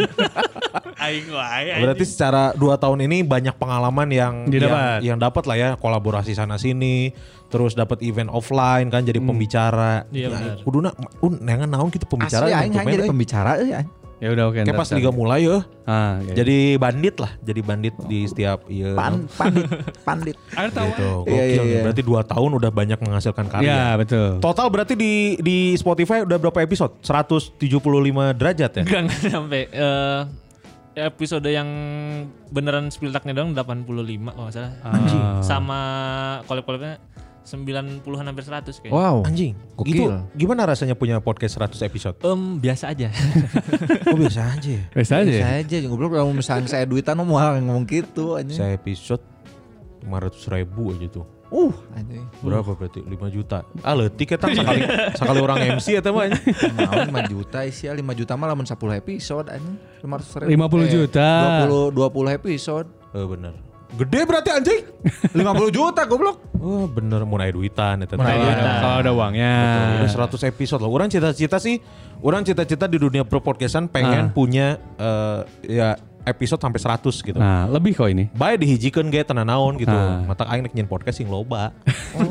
aing wae Iya, anjing.
Berarti secara dua tahun ini banyak pengalaman yang
Didapat.
yang, yang dapat lah ya kolaborasi sana sini, terus dapat event offline kan jadi pembicara.
Iya,
Nah,
benar.
Kuduna un nengan naon kita pembicara
Asli
yang
aing aing
tumben,
jadi
eh.
pembicara euy aing.
Ya udah oke.
Kayak
ntar,
pas
ntar.
liga mulai ya,
Ah, Jadi
jadi bandit lah, jadi bandit di setiap iya.
Pan, pandit, pandit.
ada tawaran.
Gitu,
Iya,
gokil
iya,
nih.
iya.
Berarti dua tahun udah banyak menghasilkan
Iya,
karya.
betul.
Total berarti di di Spotify udah berapa episode? 175 derajat ya?
Enggak, enggak sampai. Eh, episode yang beneran spiltaknya doang 85 kalau nggak salah. Ah. Sama kolab-kolabnya 90-an hampir 100 kayaknya.
Wow.
Anjing,
Gokil.
itu gimana rasanya punya podcast 100 episode?
Em, biasa aja.
Oh biasa aja ya?
Biasa aja. ya?
Saya aja goblok kalau misalnya saya duitan mau ngomong gitu anjing.
Saya episode 500 ribu aja tuh.
Uh, anjing.
Berapa berarti? 5 juta. Ah leutik eta sekali sekali orang MC eta mah. anjing.
Mau 5 juta isi 5 juta mah lamun 10 episode anjing. 500 ribu. Eh,
50 juta.
20 20 episode.
Eh bener. Gede berarti anjing.
50 juta goblok.
Wah Oh, bener mau naik duitan eta.
Kalau
teh.
ada- Kalau ada uangnya.
Udah 100 Iya, episode loh. Orang cita-cita sih, orang cita-cita di dunia perpodcastan pengen
Ah.
punya eh, ya episode sampai 100 gitu.
Nah, lebih kok ini.
Bae dihijikeun ge tanah naon gitu.
Ah.
Mata aing rek nyen podcast sing loba.
Oh,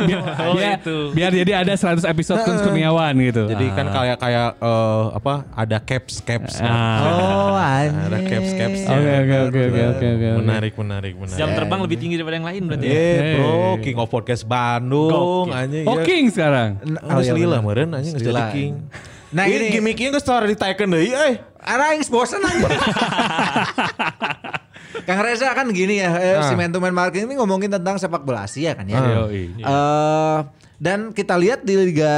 Biar-
itu.
Ya, Biar jadi ada 100 episode Kunz Kurniawan gitu.
Jadi kan kayak kayak eh, apa ada caps caps. Nah,
Oh,
Ah.
Ada caps caps.
Oke oke oke oke oke oke.
Menarik menarik
Nah,
menarik.
iya,
Jam terbang lebih tinggi daripada yang lain berarti. ya?
Eh bro, King of Podcast Bandung anjing.
Oh, King sekarang.
Oh,
iya,
lila
bener.
meureun anjing geus jadi
Lila.
king.
Nah,
Ih,
ini-
gimmicknya geus tara ditaekeun deui euy.
Arang bosan aja. Kang Reza kan gini ya, eh, si Man to Man Marketing ini ngomongin tentang sepak bola Asia kan ya.
Yoi.
Eh, dan kita lihat di Liga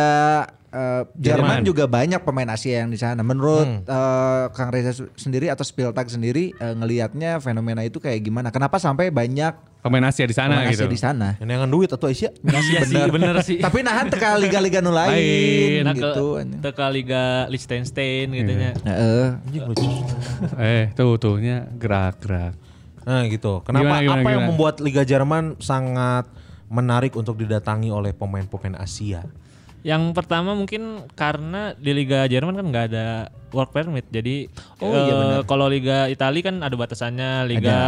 eh, Jerman
Jerman.
juga banyak pemain Asia yang di sana. Menurut eh, Kang Reza su- sendiri atau Spiltag sendiri eh, ngelihatnya fenomena itu kayak gimana? Kenapa sampai banyak
Pemain Asia di sana
pemain Asia
Nah, gitu.
di sana?
Nengan duit atuh Aisyah.
Iya sih, bener sih.
Tapi nahan teka liga-liga nu lain
Lain.
Nah, ke,
gitu. anjing. Iya.
ke Liga Liechtenstein gitu ya.
Heeh.
Anjing lucu.
Eh, tuh tuhnya gerak-gerak.
Nah gitu. Kenapa
Gimana, gimana,
apa yang
gimana?
membuat Liga Jerman sangat menarik untuk didatangi oleh pemain-pemain Asia?
Yang pertama mungkin karena di Liga Jerman kan nggak ada work permit, jadi eh, kalau Liga Italia kan ada batasannya, Liga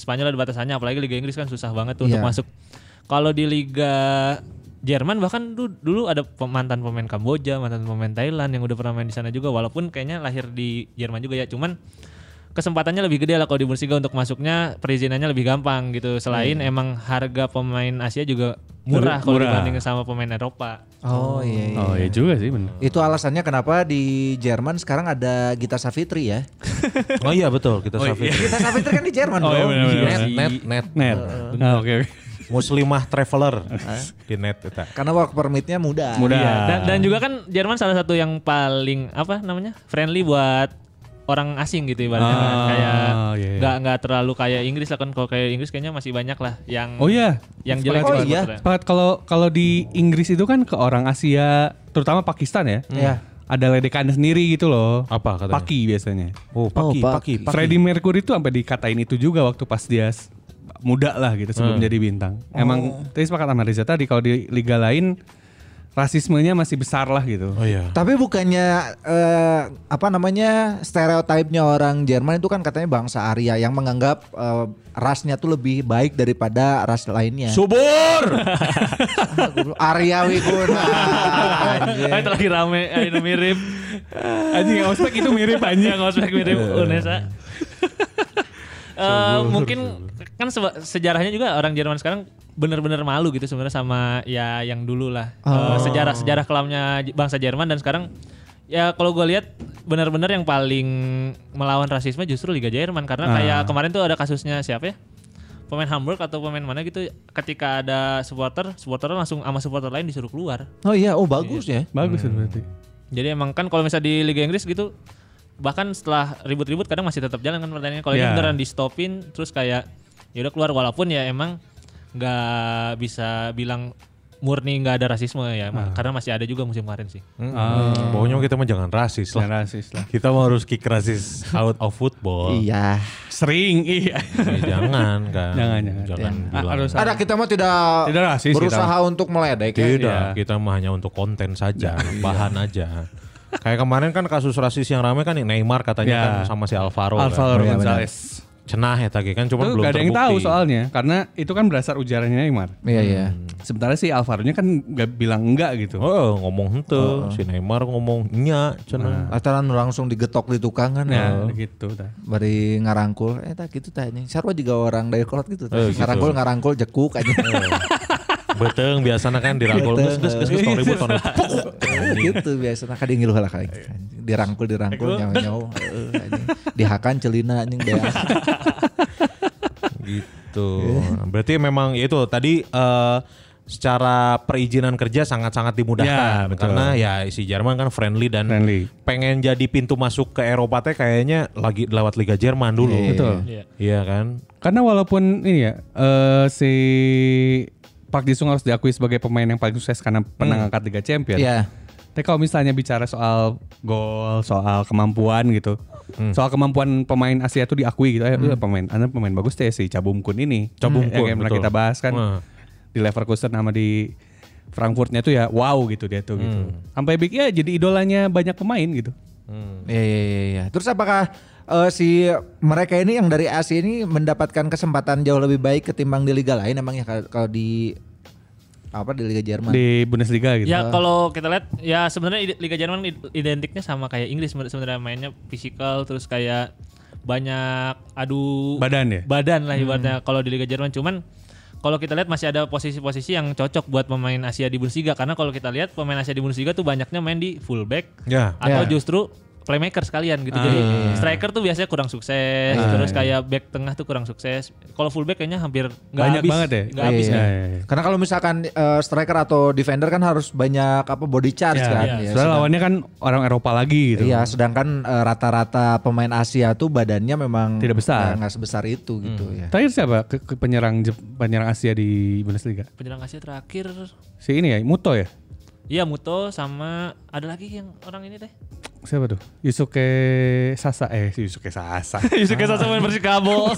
Spanyol ada batasannya, apalagi Liga Inggris kan susah banget tuh
Iya.
untuk masuk. Kalau di Liga Jerman bahkan du- dulu ada pe- mantan pemain Kamboja, mantan pemain Thailand yang udah pernah main di sana juga, walaupun kayaknya lahir di Jerman juga ya, cuman kesempatannya lebih gede lah kalau di Bundesliga untuk masuknya perizinannya lebih gampang gitu. Selain emang harga pemain Asia juga murah kalau
Murah.
dibanding sama pemain Eropa.
Oh iya. iya.
Oh, iya juga sih bener.
Itu alasannya kenapa di Jerman sekarang ada Gita Savitri ya.
Oh iya betul, kita Safir.
Gita Savitri kan di Jerman
Oh,
bro.
iya, benar, benar,
Net,
benar.
net, net.
Net. Ah, Oke oke.
Muslimah traveler
Eh?
Eh? di net eta.
Karena work permitnya muda.
Mudah.
Iya, dan, dan juga kan Jerman salah satu yang paling apa namanya friendly buat orang asing gitu ibaratnya kan.
Ah,
kayak
iya, iya.
nggak nggak terlalu kayak Inggris lah kan kalau kayak Inggris kayaknya masih banyak lah yang
Oh iya.
yang jelek
Oh,
sepak
iya.
bolanya.
Sepakat kalau kalau di Inggris itu kan ke orang Asia, terutama Pakistan ya.
Iya.
ada ledekan sendiri gitu loh.
Hmm. Apa katanya?
Paki biasanya.
Oh, Paki,
Pak.
Paki, Paki.
Freddie Mercury itu sampai dikatain itu juga waktu pas dia s- muda lah gitu sebelum
Hmm.
jadi bintang.
Oh.
Emang tadi sepakat sama Reza tadi kalau di liga lain rasismenya masih besar lah gitu.
Oh iya.
Tapi bukannya eh, apa namanya stereotipnya orang Jerman itu kan katanya bangsa Arya yang menganggap eh, rasnya tuh lebih baik daripada ras lainnya.
Subur.
Arya Wiguna.
Ah, itu lagi rame, ah, ini mirip.
Anjing yang ospek itu mirip
Yang
anjing.
ospek mirip Unesa. Eh, mungkin kan seba- sejarahnya juga orang Jerman sekarang benar-benar malu gitu sebenarnya sama ya yang dulu lah Eh, sejarah sejarah kelamnya J- bangsa Jerman dan sekarang ya kalau gue lihat benar-benar yang paling melawan rasisme justru Liga Jerman karena kayak kemarin tuh ada kasusnya siapa ya pemain Hamburg atau pemain mana gitu ketika ada supporter supporter langsung sama supporter lain disuruh keluar
Oh iya, oh bagus ya.
Bagus
Hmm.
itu berarti.
jadi emang kan kalau misalnya di Liga Inggris gitu bahkan setelah ribut-ribut kadang masih tetap jalan kan pertandingan. Kalau
Ya.
ini beneran di stopin terus kayak ya udah keluar walaupun ya emang nggak bisa bilang murni nggak ada rasisme ya emang. karena masih ada juga musim kemarin sih.
Ah. Pokoknya kita mah jangan rasis
Jangan
lah.
rasis lah.
Kita mah harus kick rasis out of football.
Iya.
Sering iya.
Ya, jangan kan.
Jangan, jangan.
Jangan
Ah,
bilang.
harus-
Ada kita mah tidak,
Tidak rasis kita.
berusaha untuk meledek ya.
Tidak,
Iya.
kita mah hanya untuk konten saja, bahan aja. Kayak kemarin kan kasus rasis yang ramai kan yang Neymar katanya
Ya.
kan sama si Alvaro. kan.
Alvaro
Iya, benar.
Gonzalez.
Cenah ya tadi kan cuma
Itu
belum
gak ada yang
terbukti.
tahu soalnya karena itu kan berdasar ujarannya Neymar.
Iya, iya.
Sementara si Alvaro-nya kan gak bilang enggak gitu.
Oh, ngomong hente, si Neymar ngomong nya, cenah.
Ataran langsung digetok di tukangan ya.
Nah, gitu dah.
Bari ngarangkul, eh tak gitu tanya. Sarwa juga orang dari kolot gitu.
Eh, gitu.
Ngarangkul ngarangkul jekuk aja.
Beteng biasanya kan dirangkul geus geus geus geus, tong ribut tong ribut. Pukuk.
gitu biasa nah kadang ngilu lah kali dirangkul dirangkul nyawa nyawa Heeh, anjing. dihakan celina anjing deh
Gitu.
Iya.
Berarti memang ya itu tadi eh, secara perizinan kerja sangat-sangat dimudahkan
Ya, betul.
karena ya si Jerman kan friendly dan
Friendly.
pengen jadi pintu masuk ke Eropa teh kayaknya lagi lewat Liga Jerman dulu.
Betul.
Iya.
Iya kan?
Karena walaupun ini ya eh, si Park Jisung harus diakui sebagai pemain yang paling sukses karena pernah
Hmm.
ngangkat Liga Champion.
Iya.
Tapi kalau misalnya bicara soal gol, soal kemampuan gitu,
Hmm.
soal kemampuan pemain Asia itu diakui gitu, eh, udah pemain, anda pemain bagus deh si Cabumkun ini,
Cabumkun,
yang pernah
betul.
kita bahas kan
Hmm.
di Leverkusen sama di Frankfurtnya tuh ya wow gitu dia tuh
Hmm.
gitu, sampai big ya jadi idolanya banyak pemain gitu.
iya iya iya iya. terus apakah eh, si mereka ini yang dari Asia ini mendapatkan kesempatan jauh lebih baik ketimbang di liga lain emang ya kalau- kalau di apa di liga Jerman
di Bundesliga gitu.
Ya kalau kita lihat ya sebenarnya ide- Liga Jerman id- identiknya sama kayak Inggris sebenar- sebenarnya mainnya fisikal terus kayak banyak adu
Badan ya?
Badan lah ibaratnya kalau di Liga Jerman cuman kalau kita lihat masih ada posisi-posisi yang cocok buat pemain Asia di Bundesliga karena kalau kita lihat pemain Asia di Bundesliga tuh banyaknya main di fullback
Ya.
atau
Ya.
justru playmaker sekalian gitu. Jadi
Ah.
striker tuh biasanya kurang sukses,
ya.
terus kayak back tengah tuh kurang sukses. Kalau fullback kayaknya hampir nggak
Banyak
habis,
banget ya?
nggak habis.
Iya,
nih.
iya, iya. Karena kalau misalkan eh, striker atau defender kan harus banyak apa body charge
Ya,
kan. Ya,
ya. Soalnya lawannya kan orang Eropa lagi gitu.
Iya, sedangkan eh, rata-rata pemain Asia tuh badannya memang
Tidak besar.
eh,
Hmm.
nggak sebesar itu gitu ya.
Terakhir siapa ke, ke penyerang Jep- penyerang Asia di Bundesliga?
Penyerang Asia terakhir
Si ini ya, Muto ya?
Iya Muto sama ada lagi yang orang ini teh.
Siapa tuh? Yusuke Sasa eh si Yusuke Sasa.
Yusuke Sasa main Persikabo.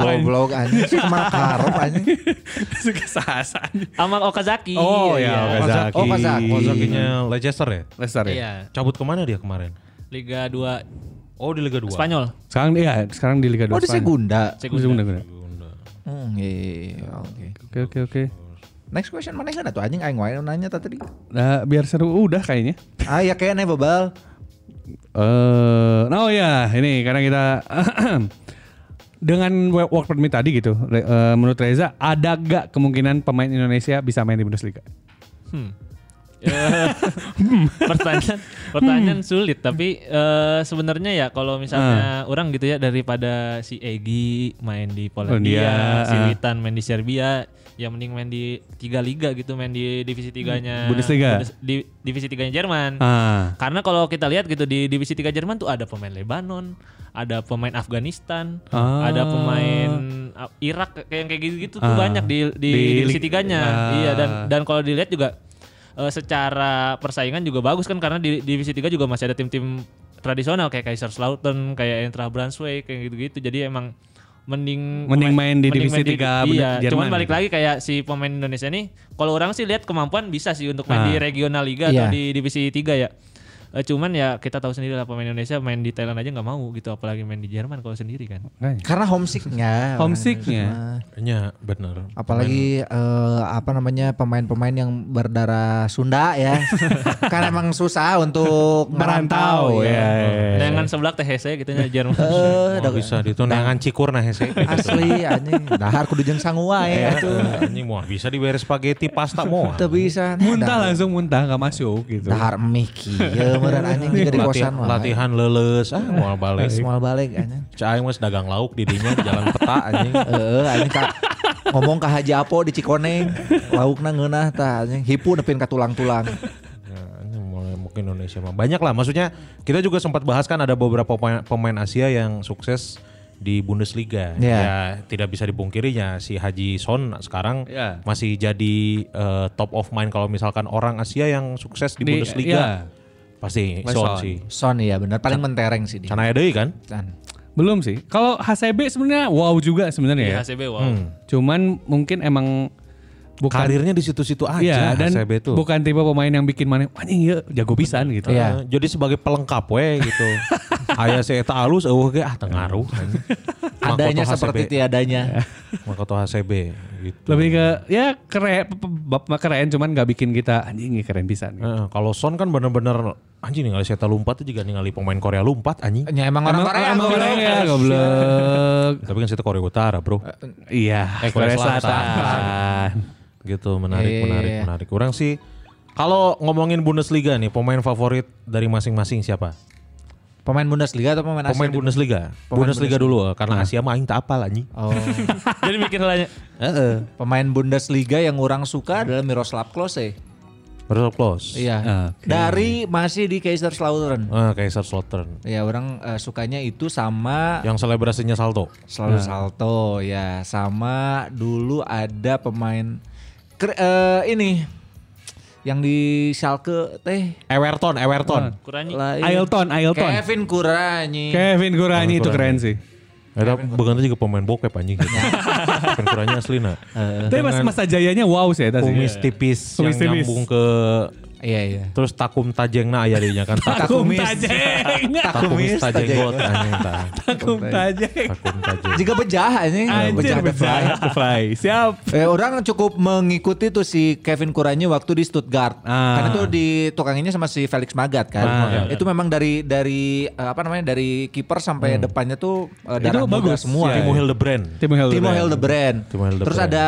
Goblok anjing sih makarop anjing.
Yusuke Sasa.
Sama Okazaki. Iya.
Oh
iya.
ya, Okazaki.
Oh, Okazaki.
Kozakinya Leicester ya?
Leicester ya.
Iya.
Cabut kemana dia kemarin?
Liga 2
Oh di Liga 2.
Spanyol.
Sekarang iya, sekarang di Liga 2
Oh, di Segunda.
Segunda. Segunda. Segunda.
Hmm, iya, iya, iya, oke.
Oke oke oke.
Next question mana enggak tuh anjing aing wae nanya tadi.
Nah, biar seru udah kayaknya.
Ah ya kayaknya bebal.
Eh, nah, oh ya, ini karena kita dengan work work permit tadi gitu, Re- eh, menurut Reza ada gak kemungkinan pemain Indonesia bisa main di Bundesliga?
pertanyaan pertanyaan sulit tapi eh, sebenarnya ya kalau misalnya
Ah.
orang gitu ya daripada si Egi main di Polandia,
Polandia,
si
ah.
Witan main di Serbia, ya mending main di tiga liga gitu, main di divisi tiganya
Bundesliga.
Bundes- di divisi tiganya Jerman.
Ah,
Karena kalau kita lihat gitu di divisi 3 Jerman tuh ada pemain Lebanon, ada pemain Afghanistan,
Ah.
ada pemain uh, Irak kayak yang kayak gitu-gitu tuh
Ah.
banyak di di,
Di
divisi
lig-
tiganya.
Ah.
Iya dan dan kalau dilihat juga eh, secara persaingan juga bagus kan karena di divisi 3 juga masih ada tim-tim tradisional kayak Kaiserslautern, kayak Eintracht Braunschweig kayak gitu-gitu. Jadi emang mending
Mending main di divisi tiga
iya,
Jerman
cuman balik
gitu.
lagi kayak si pemain Indonesia nih kalau orang sih lihat kemampuan bisa sih untuk main
Ah.
di regional liga atau
Iya.
di divisi 3 ya. Eh, cuman ya kita tahu sendiri lah pemain Indonesia main di Thailand aja nggak mau gitu apalagi main di Jerman kalau sendiri kan.
Makanya.
Karena homesicknya. orang
Homesicknya.
Indonesia.
Iya bener.
Apalagi eh, apa namanya pemain-pemain yang berdarah Sunda ya. Karena emang susah untuk merantau ya.
Eh. Nah,
Dengan sebelah THC gitu nya Jerman.
Eh,
Nggak
dah-
bisa ditunangan cikur
ya,
nah hese.
asli anjing. Dahar kudu jeung sangua ya
iya.
tuh.
Ini mau bisa diberes spaghetti pasta mau.
Teu bisa. Nah,
Muntah
Dahar-
langsung muntah nggak masuk gitu.
Dahar emih kieu meureun anjing juga di
Lati-
kosan Iya. mah.
Iya, latihan leuleus ah mau balik.
Semua balik anjing.
Cai mas dagang lauk di dinya di jalan peta anjing.
Heeh, anjing ka- ngomong ka Haji Apo di Cikoneng, laukna ngeunah tah anjing, hipu nepin ka tulang-tulang.
Ya, ini mulai mungkin Indonesia mah banyak lah maksudnya kita juga sempat bahas kan ada beberapa pemain, pemain Asia yang sukses di Bundesliga
Iya.
ya tidak bisa dipungkirinya si Haji Son sekarang
Iya.
masih jadi eh, top of mind kalau misalkan orang Asia yang sukses di,
Di- ya,
Bundesliga pasti
Pasti
Son
Son.
sih
Son ya bener paling mentereng sih dia.
Canaya deui kan
Can.
Belum sih. Kalau HCB sebenarnya wow juga
Iya.
sebenarnya
Di
ya.
HCB wow.
Hmm.
Cuman mungkin emang bukan
karirnya di situ-situ aja
Iya, dan
SCB tuh.
bukan tipe pemain yang bikin mana anjing ya jago pisan gitu.
Iya.
Eh, jadi sebagai pelengkap we gitu ayah si Eta alus eueuh ge ah teu ngaruh anjing.
Adanya
Makoto
seperti ya.
HCB.
tiadanya.
Makoto HCB gitu
Lebih ke ya keren pe- pe- bab mah keren cuman nggak bikin kita anjing ya keren pisan. gitu.
Heeh, kalau Son kan bener-bener anjing ningali seta lompat tuh juga ningali pemain Korea lompat anjing.
Ya emang orang
Emang-
Korea gitu.
emang
goblok.
orang ya goblok.
Tapi kan seta Korea Utara, Bro.
Iya,
Eh, Korea Selatan. gitu, menarik,
Iya, iya,
menarik,
iya.
menarik. Orang sih kalau ngomongin Bundesliga nih, pemain favorit dari masing-masing siapa?
Pemain Bundesliga atau pemain Asia?
Pemain Bundesliga. Bundesliga dulu eh, karena Asia mah aing tak apal anjing.
Oh,
Jadi bikin lah
Heeh.
pemain Bundesliga yang orang suka adalah Miroslav Klose.
Baru close.
Iya.
Oke.
Dari masih di Kaiserslautern.
Eh, Kaiserslautern.
Ya orang eh, sukanya itu sama
Yang selebrasinya salto.
selalu salto ya sama dulu ada pemain Kre- eh, ini yang di Schalke teh
Everton, Everton. iya.
Kuranyi.
lain.
Ailton, Ailton.
Kevin Kurani.
Kevin Guranyi itu keren sih.
Ada beganti juga pemain bokep anjing. Kan kurangnya asli nah.
Tapi mas masa jayanya wow sih eta sih.
Kumis tipis
Iya. Kumis
yang
tipis.
nyambung ke
Iya iya.
Terus takum tajengna aya dinya kan.
Takum
Takumis.
tajeng.
takumis tajenggot anjing tah.
Takum tajeng.
Takum tajeng.
Jika bejah ini.
Anjir, fly. fly. Siap.
Eh, orang cukup mengikuti tuh si Kevin Kurani waktu di Stuttgart.
Ah. iya,
Karena itu di tukanginnya sama si Felix Magath kan. Itu memang dari dari eh, apa namanya dari kiper sampai depannya tuh eh, darah
Hmm. Itu
muda
bagus,
semua.
iya.
Timo Hildebrand.
Timo Hildebrand.
Timo Hildebrand.
Timo Hildebrand.
Terus ada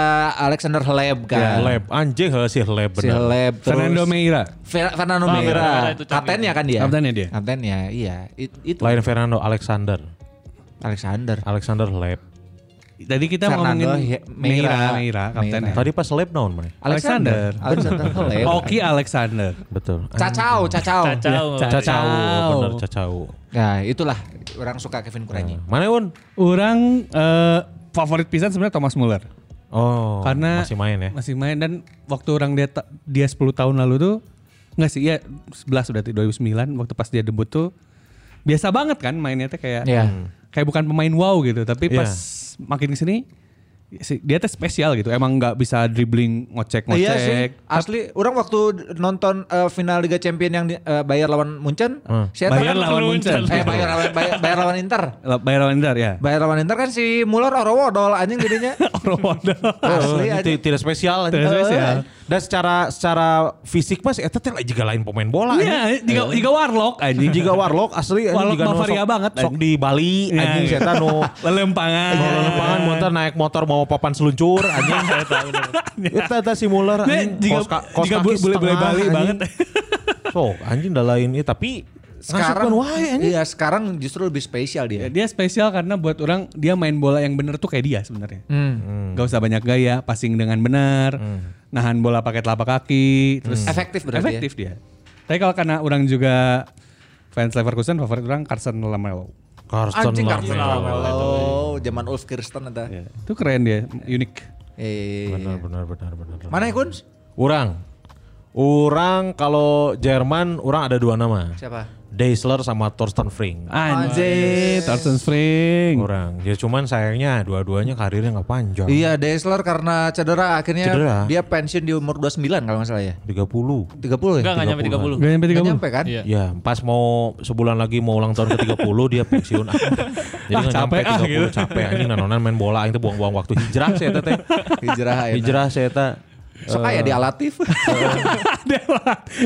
Alexander Hleb kan.
Lab Ya, anjing heuh si Lab
Si
bener.
Hleb terus
Iya, Fernando Meira.
Fer- Fernando
Ah,
Meira.
Fernando Meira itu canggih.
Kaptennya kan dia.
Kaptennya dia.
Kaptennya iya. It- itu
Lain Fernando Alexander.
Alexander.
Alexander Lab.
Tadi kita
Fernando
ngomongin
He- Meira.
Meira, Meira, kaptennya.
Tadi pas Lab naon maneh?
Alexander.
Alexander Hleb.
Oki Alexander.
Betul.
Cacau, cacau.
Cacau.
Cacau,
Cacau.
bener cacau.
Nah, itulah orang suka Kevin Kurani.
Mana Un?
Orang eh, favorit pisan sebenarnya Thomas Muller.
Oh,
Karena
masih main ya.
Masih main dan waktu orang dia ta- dia 10 tahun lalu tuh enggak sih, ya 11 berarti 2009 waktu pas dia debut tuh biasa banget kan mainnya teh kayak
Iya.
kayak bukan pemain wow gitu, tapi
Iya.
pas makin ke sini si- dia teh spesial gitu. Emang nggak bisa dribbling ngocek-ngocek.
Iya sih. Asli orang waktu nonton eh, final Liga Champion yang di, eh, Bayar lawan Munchen,
Hmm.
si Eta
Bayern lawan Munchen.
Eh Bayar lawan Bayar, Bayar lawan Inter.
Bayar Wander ya.
Bayar lawan Inter kan si Muller orowodol anjing jadinya.
Oh, gitu.
Asli
ini
anjing.
ti- tidak spesial anjing. Oh.
Tidak spesial.
Dan secara secara fisik mas ya eta teh juga lain pemain bola anjing.
Iya, jika jika warlock anjing.
Jika Warlock asli anjing
Warlock
jika nu
Bavaria
sok-
banget,
Sok
anjing.
di Bali
Iya,
anjing
iya.
setan nu
lelempangan. Iya,
Kalau lapangan motor naik motor mau papan seluncur anjing. Eta eta si Muller
Nah,
anjing.
jika- jika bu- boleh-boleh Bali banget.
So, anjing dah lain ieu tapi
Sekarang
ngasupkeun wae anjing.
Iya, sekarang justru lebih spesial
Ya,
dia.
Dia spesial karena buat orang dia main bola yang bener tuh kayak dia sebenarnya.
Hmm.
Gak usah banyak gaya, passing dengan benar, nahan bola pakai telapak kaki, terus
Efektif berarti
Hmm. efektif ya? dia. Tapi kalau karena orang juga fans Leverkusen favorit orang Carson Lamelo.
Carsten
Anjing Carson
Lamela.
Lamelo, Oh, zaman Ulf Kirsten ada.
Itu keren dia, unik.
Eh.
Benar benar benar benar.
Mana ya Kun?
Urang. Orang kalau Jerman orang ada dua nama.
Siapa?
Daisler sama Thorsten Frink.
Anjir, Tarsen Spring.
Orang. Ya cuman sayangnya dua-duanya karirnya nggak panjang.
Iya, Daesler karena cedera akhirnya
Cedera.
dia pensiun di umur 29 kalau nggak salah ya.
30.
30 ya?
Enggak, enggak nyampe 30.
Gak nyampe
Nggak
30.
nyampe kan?
Iya.
Ya, pas mau sebulan lagi mau ulang tahun ke 30 dia pensiun. Ah, Jadi
Ah,
nggak nyampe
capek ah,
30
gitu.
capek anjing nanonan main bola itu buang-buang waktu hijrah saya teh.
Hijrah ya.
Hijrah saya teh.
Sok aya di alatif.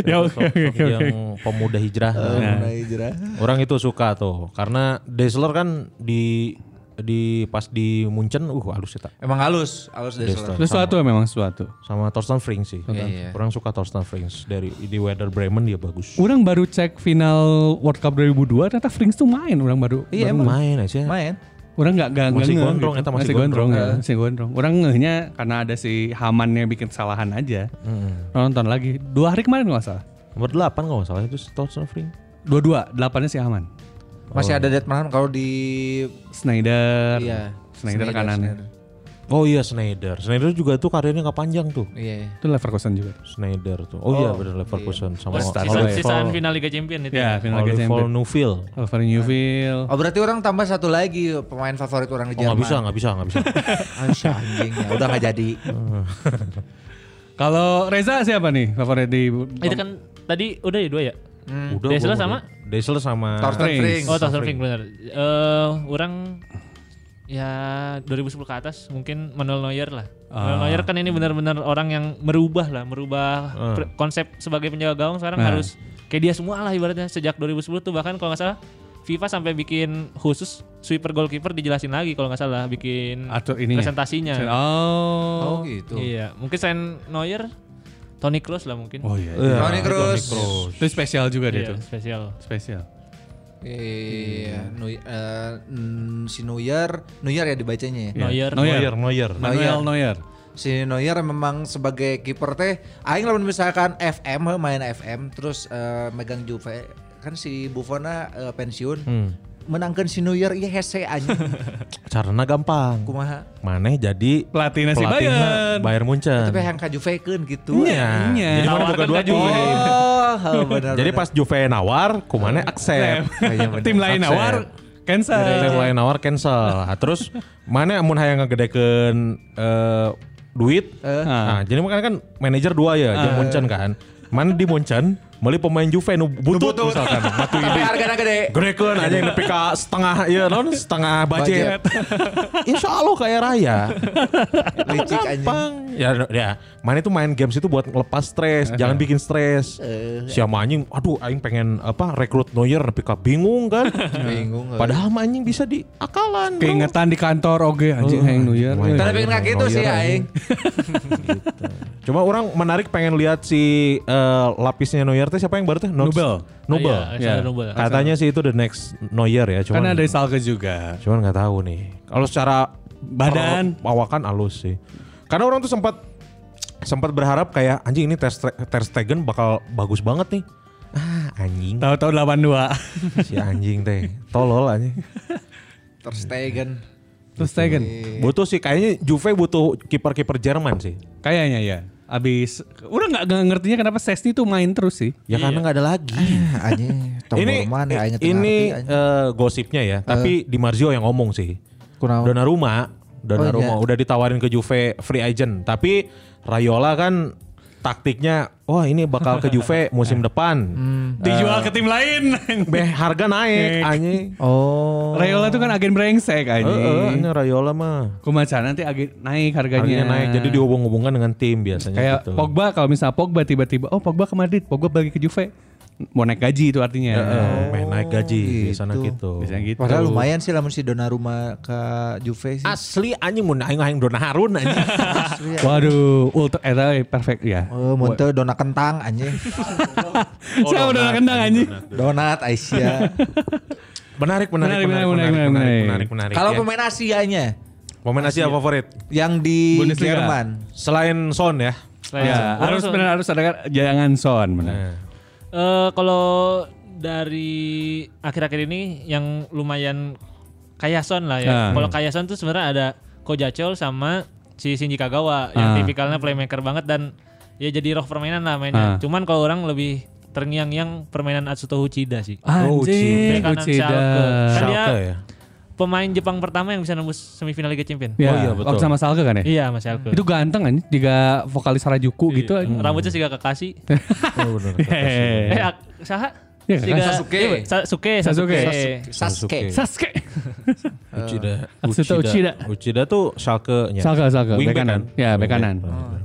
Ya oke oke oke, oke. Eh,
yang pemuda hijrah. Nah.
Nah, hijrah.
Orang itu suka tuh karena Daisler kan di di pas di Munchen uh halus ya tak.
Emang halus, halus Daesler.
Daesler.
Terus suatu memang suatu.
sama Thorsten Frings sih.
Iya, iya.
Orang suka Thorsten Frings dari di Werder Bremen dia bagus.
Orang baru cek final World Cup 2002 ternyata Frings tuh main orang baru.
Iya,
Baru
emang.
main aja.
Main.
Orang nggak nggak
Masih
nggak ngeh
gondrong, eta
gitu.
masih
masih gondrong,
gondrong, Iya.
ya, masih gondrong. Orang ngehnya karena ada si Hamannya bikin kesalahan aja.
Hmm.
Nonton lagi dua hari kemarin nggak salah.
Nomor 8 kalau nggak salah itu Thorsten Frings.
Dua dua delapannya si Haman.
Masih ada Detman kalau di
Snyder,
Iya. Snyder,
Snyder, kanannya.
Snyder.
Oh iya Snyder. Snyder juga tuh karirnya nggak panjang tuh.
Iya.
Itu Leverkusen juga.
Snyder tuh. Oh, iya benar Leverkusen sama
Terus sisa-
Oliver-
sisaan final Liga Champion
Iya,
itu.
Ya, final
Oliver
Liga Champions.
Neuville.
Oliver Newville.
Oh berarti orang tambah satu lagi pemain favorit orang di
Oh nggak
Jerman.
bisa, nggak bisa, nggak bisa.
Ah, si anjing, ya udah nggak jadi.
Kalau Reza siapa nih favorit di
Itu kan tadi udah ya dua ya?
Udah.
Daisler
gua-
sama?
Daisler sama.
Thorsten
Frings.
Frings.
Oh, Thorsten Frink benar. Eh, orang ya 2010 ke atas mungkin Manuel Neuer lah. Manuel Neuer
Ah.
kan ini benar-benar orang yang merubah lah, merubah pre- konsep sebagai penjaga gawang sekarang
Ah.
harus kayak dia semua lah ibaratnya sejak 2010 tuh bahkan kalau nggak salah FIFA sampai bikin khusus sweeper goalkeeper dijelasin lagi kalau nggak salah bikin
atau ini
presentasinya.
Oh.
Oh gitu.
Iya, mungkin selain Neuer, Toni Kroos lah mungkin.
Oh iya.
Iya,
Toni Kroos.
Itu spesial juga dia
Iya,
tuh.
spesial.
Spesial.
Iya, Neu- eh, mm, si Neuer, Neuer ya dibacanya ya.
Iya.
Neuer.
Neuer. Nah.
Neuer, Neuer.
Manuel Neuer.
Si Neuer memang sebagai kiper teh aing lamun misalkan FM he, main FM terus eh, megang Juve kan si Buffonna eh, pensiun. Menangkan si Neuer iya hese anjing.
Caranya gampang.
Kumaha?
Maneh jadi
Pelatihnya si
pelatihnya
Bayern.
Bayern Munchen.
Tapi yang ka Juvekeun gitu.
Iya.
Iya.
Jadi mana
Tawarkan
bukan dua
ke
tim.
Juve.
Oh, benar.
Jadi pas Juve nawar, kumane accept.
Tim
Nah, iya,
lain
Accept.
nawar cancel.
Tim lain nawar eh, cancel. Ah, Terus mana amun hayang ngegedekeun eh, duit?
Eh. Ah.
Nah, jadi makanya kan manajer dua ya, jeung Munchen kan. Mana di Munchen beli pemain Juve nu butut misalkan. Matu
Tapi hargana gede.
Grekeun aja yang nepi ka setengah ya non setengah budget. Insya Allah kayak raya.
Licik anjing.
Gampang. Ya, ya. Main itu main games itu buat ngelepas stres, jangan bikin stres.
Eh.
Siapa anjing, aduh aing pengen apa rekrut Neuer nepi ka bingung kan.
Bingung. eh.
Padahal mah anjing bisa di akalan. bro.
Keingetan di kantor oge
Oh,
anjing hayang Neuer.
main.
Tapi nggak gitu sih
Neuer,
aing.
Cuma orang menarik pengen lihat si eh, lapisnya Neuer teh siapa yang baru teh? Nox-
Nubel.
Nubel.
Ah, iya, Alexander
Ya.
Nubel.
Katanya sih itu the next Neuer ya, cuman
Karena ada Salke juga.
cuman nggak tahu nih. Kalau secara
Badan.
per- awakan halus sih. Karena orang tuh sempat sempat berharap kayak anjing ini Ter, Stre- Ter Stegen bakal bagus banget nih. Ah, anjing.
Tahu-tahu 82.
si anjing teh. Tolol anjing.
Ter Stegen.
Terus Stegen.
Butuh sih kayaknya Juve butuh kiper-kiper Jerman sih.
Kayaknya ya. Abis udah nggak nggak ngertinya kenapa Sesni tuh main terus sih.
Ya karena nggak ada lagi.
Anjing,
ini
tombol mana aing teu
ini
ngarti, anjing.
eh, Oh. gosipnya ya, tapi Di Marzio yang ngomong sih.
Kunaon?
Donnarumma, Donnarumma
Oh, iya.
udah ditawarin ke Juve free agent, tapi Rayola kan taktiknya wah ini bakal ke Juve musim depan.
Dijual ke tim lain.
Beh harga naik anjing.
Oh.
Rayola tuh kan agen brengsek
Heeh, eh, ini
anjing.
Rayola mah
Kumaca nanti agen naik harganya.
harganya naik jadi dihubung-hubungkan dengan tim biasanya
Kayak
gitu.
Pogba kalau misalnya Pogba tiba-tiba oh Pogba ke Madrid, Pogba bagi ke Juve. Mau naik gaji itu artinya.
Heeh, main Eh, naik gaji biasanya gitu.
Biasanya gitu.
Padahal lumayan sih lamun si Donnarumma ke Juve sih.
Asli anjing mun aing aing Donnarumma anjing.
Waduh, ultra eta we perfect ya.
Oh, mun teu dona kentang anjing.
Saya udah kendang anjing.
Donat Aisyah.
Menarik, menarik, menarik,
Menarik, menarik,
menarik, menarik, menarik,
menarik.
menarik, menarik,
Kalau
ya.
pemain Asianya
Pemain Asia favorit
yang di
Bundesliga.
Jerman.
selain Son ya.
Selain
Ya,
Son.
harus
Langsung.
benar harus ada kan- jangan son benar.
Iya.
Eh, kalau dari akhir-akhir ini yang lumayan Kayason lah ya.
Ah.
Kalau Kayason tuh sebenarnya ada Kojacol sama si Shinji Kagawa
Ah.
yang tipikalnya playmaker banget dan ya jadi roh permainan lah mainnya.
Ah.
Cuman kalau orang lebih terngiang-ngiang permainan Atsuto Uchida sih.
Anjing,
Bek
Ah, iya.
kanan
Uchida.
Schalke. Kan dia
Schalke ya?
pemain Jepang pertama yang bisa nembus semifinal Liga Champion.
Oh
Ya,
iya, Iya. betul.
waktu sama Salke kan ya?
Iya, Mas Alko.
Itu ganteng kan, juga vokalis Harajuku gitu. anjing.
Hmm.
Iya,
Rambutnya sih gak kekasih.
Oh, bener.
Eh,
Iya.
Hehehe.
ak- saha?
Iya,
Siga-
Sasuke.
iya, Sasuke.
Sasuke.
Sasuke.
Sasuke.
Iya. Uchida.
Atsuto Uchida.
Uchida tuh Schalke-nya. kan?
Salke, Salke.
Wing
Bek kanan. Ya, bek kanan.
Iya.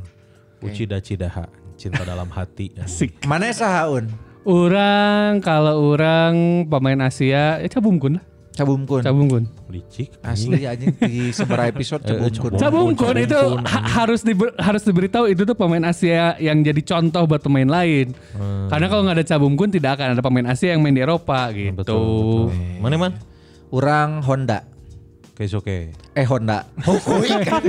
Uchida Cidaha, cinta dalam hati.
Asik.
Mana sahaun?
Orang, kalau orang pemain Asia, ya cabungkun lah.
Cabumkun.
Cabungkun.
Licik.
Asli anjing di seberapa episode
Eh,
Cabumkun.
Cabum-
Cabungkun
Cabungkun,
itu
Cabungkun,
ha- harus diber- harus diberitahu itu tuh pemain Asia yang jadi contoh buat pemain lain.
Hmm.
Karena kalau nggak ada cabungkun tidak akan ada pemain Asia yang main di Eropa gitu.
Hmm, Betul, betul. Iya, Mana man?
Orang Honda.
Keisuke.
Eh Honda. Oh, ikan.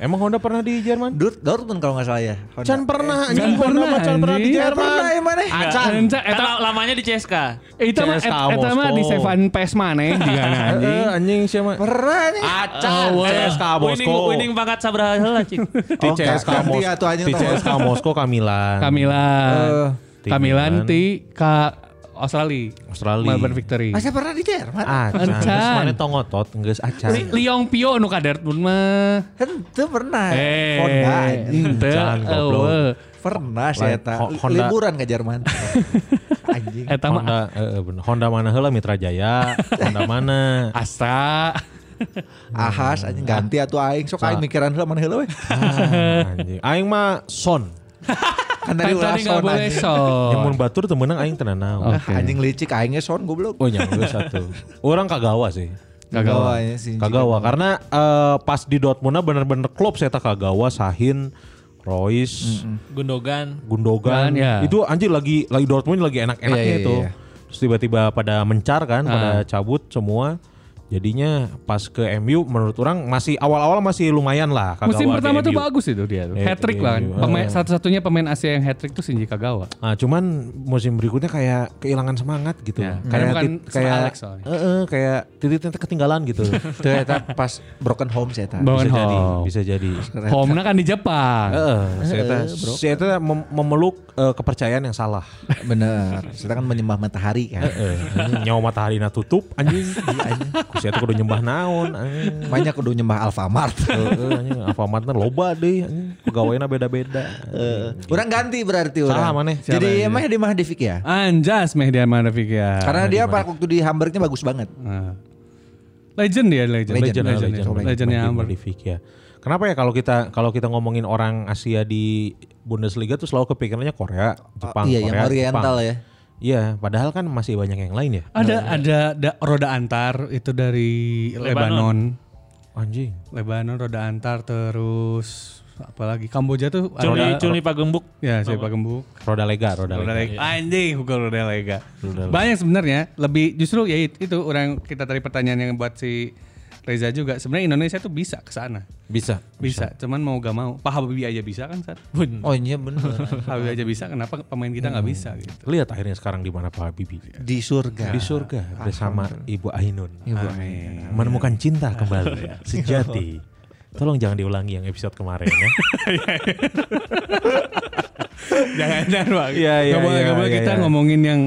Emang Honda pernah di Jerman?
Dut- Dortmund kalau nggak salah ya. Honda.
Can pernah,
Can
anjing Honda
pernah,
mah Can pernah di
anjing.
Can
Jerman.
pernah ya mana?
Ah.
Acan.
Eta, eta,
Eta lamanya di CSKA.
eta mah
CSKA
eta mah di
Moskow.
Seven Pes maneh juga nah, anjing.
Eh, anjing siapa?
Pernah nih.
Ah. Acan. eh, CSK
Winning,
Moskow.
winning banget sabraha heula, Cik.
Di
Oh, nggak,
CSK
ganti
Moskow.
atuh anjing
Di
tuh.
CSK Moskow Kamilan.
Kamilan.
Eh,
Ah.
Kamilan
Milan.
ti ka Australia.
Australia.
Melbourne Victory.
Masa pernah di Jerman?
Acan.
Acan.
Terus Mana tongotot, nggak acan.
Li- Liong Pio nu ka Dortmund mah.
Itu pernah.
Eh,
Honda. anjing.
teu, eh,
Jangan, goblok.
eueuh.
Pernah sih
Lain,
eta.
Ho- Honda.
Liburan ke Jerman. Anjing.
Eta mah
Honda, eh, eh, bener. Honda mana heula Mitra Jaya, Honda mana.
Astra.
Ahas anjing ganti atuh aing sok aing mikiran heula mana heula we.
Ah, anjing. Aing mah son.
Kan
Kan
tadi ulah
tadi nggak
son
boleh
anjing.
son.
Nyamun batur temenang aing tenan naon.
Oke.
Anjing licik aingnya son goblok.
Oh nyampe satu. Orang kagawa sih.
Kagawa.
Gawanya sih.
Kagawa karena eh, pas di Dortmundnya bener-bener klub saya tak Kagawa, Sahin, Royce,
Gundogan.
Gundogan.
Gundogan, ya.
Itu anjir lagi lagi Dortmund lagi enak-enaknya
Iya, iya,
itu.
iya.
Terus tiba-tiba pada mencar kan,
Ah.
pada cabut semua. Jadinya pas ke MU menurut orang masih awal-awal masih lumayan lah Kagawa
Musim
di
pertama tuh
MU.
bagus itu dia tuh.
Iya,
Hat trick
iya,
bahkan.
iya.
Pemain satu-satunya pemain Asia yang hat trick tuh Shinji Kagawa.
Nah, cuman musim berikutnya kayak kehilangan semangat gitu.
Ya,
Kayak
karena bukan
tit-
Sir
kayak
Alex soalnya.
Eh, eh, kayak titik-titik ketinggalan gitu.
Itu eta pas broken home sih eta.
Bangun
bisa jadi,
home.
bisa jadi.
Home-nya kan di Jepang.
Heeh, si Eta, si Eta mem- memeluk eh, kepercayaan yang salah.
Bener. Kita kan menyembah matahari kan.
Heeh, Eh, anjing, nyawa matahari na tutup anjing. Ku Si Eta kudu nyembah naon anjing.
Makanya kudu nyembah Alfamart.
Heeh, anjing Alfamartna loba deui anjing. Pegawainya beda-beda. Heeh.
Orang ganti berarti orang.
Salah maneh.
Jadi
Siapa
emang di Mahdi Fik ya?
Anjas Mehdi Ahmad Rafiq ya.
Karena dia pas waktu di Hamburgnya bagus banget.
Nah. Legend dia legend.
Legend,
Legend,
Legend, legend,
legend,
legend.
legend,
Legendnya
legend
Amber.
Modifik, ya. Kenapa ya kalau kita kalau kita ngomongin orang Asia di Bundesliga tuh selalu kepikirannya Korea, Jepang,
iya,
Korea,
yang oriental
Jepang.
ya.
Iya, padahal kan masih banyak yang lain ya.
Ada ada da- roda antar itu dari Lebanon.
Lebanon.
Anjing.
Lebanon, roda antar terus apalagi Kamboja tuh
Culi,
ada
Culi Pagembuk.
ya saya Gembuk.
Roda lega, roda,
Roda
lega.
lega. Anjing hukum roda lega.
Roda lega.
Banyak sebenarnya, lebih justru ya it- itu orang kita tadi pertanyaan yang buat si Reza juga. Sebenarnya Indonesia tuh bisa ke sana.
Bisa.
Bisa, cuman mau gak mau. Pak Habibie aja bisa kan, Sat?
Oh iya bener.
Habibie aja bisa, kenapa pemain kita nggak bisa gitu.
Lihat akhirnya sekarang di mana Pak Habibie.
di surga.
Di surga bersama Ibu Ainun. Ya.
Amin.
Menemukan cinta kembali sejati. Tolong jangan diulangi yang episode kemarin ya.
jangan jangan bang
Iya, iya,
Nggak boleh
iya,
nggak boleh
iya,
kita
iya.
ngomongin yang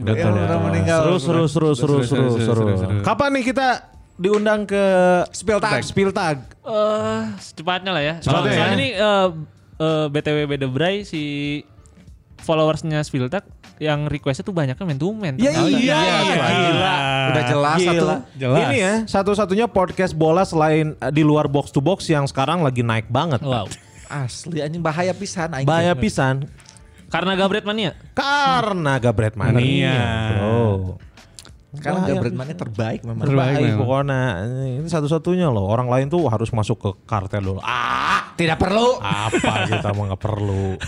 Betul.
orang meninggal.
Seru seru seru seru
Seru, seru,
seru
seru,
seru.
seru.
Kapan nih kita diundang ke Spill Tag? Spill Tag.
Eh, secepatnya lah ya.
Secepatnya
Soalnya
ya.
ini eh, eh, BTW Beda Bray si followersnya Spiltak yang requestnya tuh banyaknya main to man.
Ya iya, gila.
Udah jelas satu.
Gila.
Jelas.
Ini ya satu-satunya podcast bola selain eh, di luar box to box yang sekarang lagi naik banget.
Wow.
Asli anjing bahaya pisan anjing.
Bahaya pisan
Karena Gabret Mania.
karena Gabret Mania.
Mania.
Bro.
Kan udah brand mana terbaik memang.
Terbaik.
Baik
memang.
pokoknya ini satu-satunya loh. Orang lain tuh harus masuk ke kartel dulu. Ah,
Tidak perlu.
apa kita mah nggak perlu.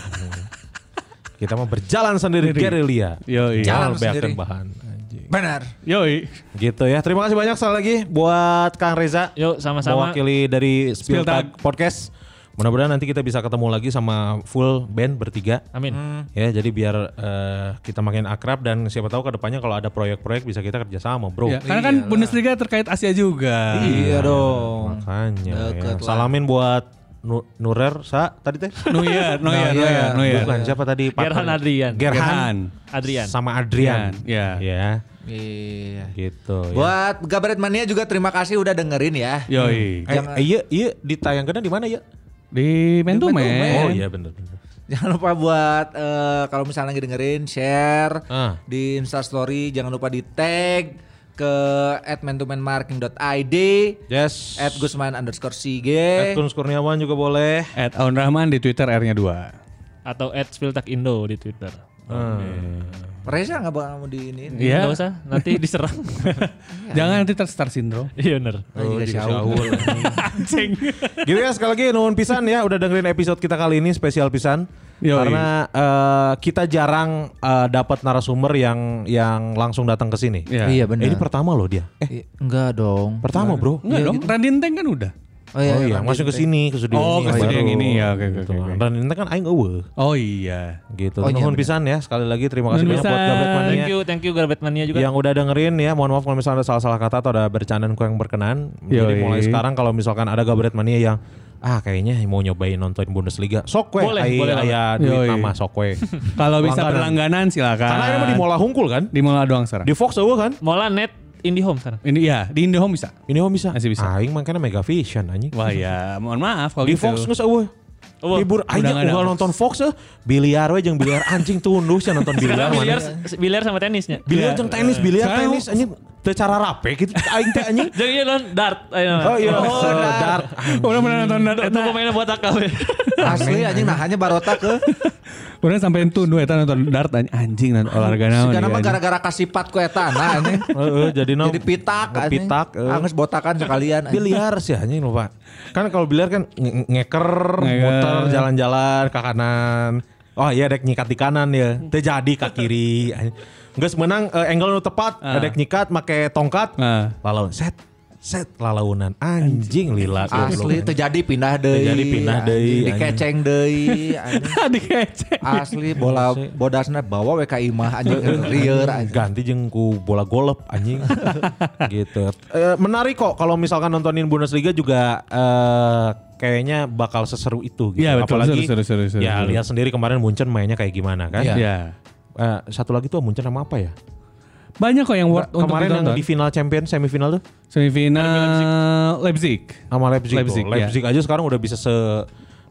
kita mah berjalan sendiri ya. gerilya.
Yoi.
Jangan
Jalan
lebih akan
sendiri.
bahan. Anjing.
Benar.
yoi
Gitu ya. Terima kasih banyak sekali lagi buat Kang Reza.
Yuk, sama-sama.
Mewakili dari
Spill
Spiltag Podcast. Mudah-mudahan nanti kita bisa ketemu lagi sama full band bertiga.
Amin.
Ya, jadi biar eh, kita makin akrab dan siapa tahu kedepannya kalau ada proyek-proyek bisa kita kerjasama, bro.
Ya, karena kan Bundesliga terkait Asia juga
Iya dong. Makanya. ya.
Deket lah.
Salamin buat Nu- Nurer sa tadi teh?
Neuer, Neuer,
Neuer.
Neuer, Neuer.
Bukan siapa tadi?
Gerhan
partner?
Adrian.
Gerhan
Adrian.
sama Adrian.
Iya.
Ya,
Iya.
gitu. ya.
Buat Gabaret Mania juga terima kasih udah dengerin ya.
Eh,
Yoi.
eh, iya, iya ditayangkan di mana ya?
Di Mentumen.
Oh iya bener.
Jangan lupa buat eh, kalau misalnya lagi dengerin share
Ah.
di Instastory, jangan lupa di tag ke @mantomanmarking.id
Yes.
at Gusman underscore
At
Sige
Kunz Kurniawan juga boleh.
At Aun Rahman di Twitter R-nya 2.
Atau at Spiltak Indo di Twitter.
Reza nggak bakal mau di ini
Iya.
Nggak usah, nanti diserang.
Jangan nanti terstar syndrome.
Iya bener.
Oh, juga si Aul.
Anjing.
gitu ya sekali lagi nuhun pisan ya udah dengerin episode kita kali ini spesial pisan
Yoi.
karena eh, kita jarang eh, dapat narasumber yang yang langsung datang ke sini.
Iya.
Iya
Eh,
benar.
ini pertama loh dia.
I-
Eh
enggak dong.
pertama bro.
Enggak dong, Radin Teng kan udah.
Oh
Oh iya, masuk ke sini ke studio
Oh,
ini.
ke studio yang
baru.
ini, ya, oke, oke,
Gitu.
oke, oke.
Dan ini kan aing eueuh
Oh iya.
gitu.
Oh, iya,
nuhun
benar.
pisan ya sekali lagi terima kasih
Nuhun
banyak buat
pisan.
Gablek Mania.
Thank you, thank you Garbet Mania juga.
yang udah dengerin ya mohon maaf kalau misalnya ada salah-salah kata atau ada bercandaan kurang berkenan jadi
Yoi.
mulai sekarang kalau misalkan ada Gabret Mania yang ah kayaknya mau nyobain nonton Bundesliga sok we
Boleh,
ai-
boleh
aya duit
Yoi.
nama sok we
Kalau bisa
Langganan.
berlangganan silakan.
karena ini mah di Mola Hungkul kan
Di Mola doang sekarang.
di Fox eueuh kan
Mola net Indihome sekarang.
Ini ya, di Indohome bisa.
ini mah bisa
Masih bisa.
aing makanya Mega Vision anjing
Wah ya, mohon maaf kalau
di
gitu.
Fox geus eueuh
Eueuh.
libur aja
nggak ada
ugal
Fox.
nonton Fox eh biliar we jeung biliar anjing tundus yang nonton biliar
Sekarang biliar,
mana
biliar sama tenisnya.
biliar jeung tenis biliar
Sekarang-
tenis anjing teu cara rapi gitu aing teh anjing
Jangan iya lon dart. Ayo, nama.
oh iya
Oh,
oh, dart
Orang pernah nonton Dart
Itu
Eta.
pemainnya buat akal ya.
Asli anjing nah hanya barota ke.
Orang sampai itu nu Eta nonton Dart anj- anjing nonton olahraga naon.
Sekarang mah
iya, anjing.
gara-gara kasipat ku eta nah anjing.
Heeh, jadi
Jadi pitak anjing.
pitak eh.
Angus botakan sekalian anjing.
biliar sih anjing lupa. Kan kalau biliar kan nge- ngeker,
Ngeker.
muter jalan-jalan ke kanan. Oh iya dek nyikat di kanan ya. Teu jadi ke kiri. Enggak menang eh, angle nu tepat,
Ah.
dek nyikat make tongkat.
Ah.
Lalaun set set lalaunan anjing lila
Asli
goblok.
terjadi pindah deui.
Terjadi pindah deui,
anjing.
anjing.
Dikeceng deui anjing.
Dikecek.
Asli bola bodasna bawa WK Imah anjing rieur anjing.
ganti jeung ku bola golep anjing gitu Eh, menarik kok kalau misalkan nontonin Bundesliga juga eh, kayaknya bakal seseru itu gitu
Iya, betul.
apalagi
Seru, seru, seru, seru,
ya
seru.
lihat sendiri kemarin Munchen mainnya kayak gimana kan
Iya.
Ya.
Eh, satu lagi tuh Munchen sama apa ya
Banyak kok yang worth untuk
kemarin yang
ditonton.
di final champion semifinal tuh
Semifinal Leipzig.
sama Leipzig, iya.
Leipzig,
tuh. Leipzig aja sekarang udah bisa se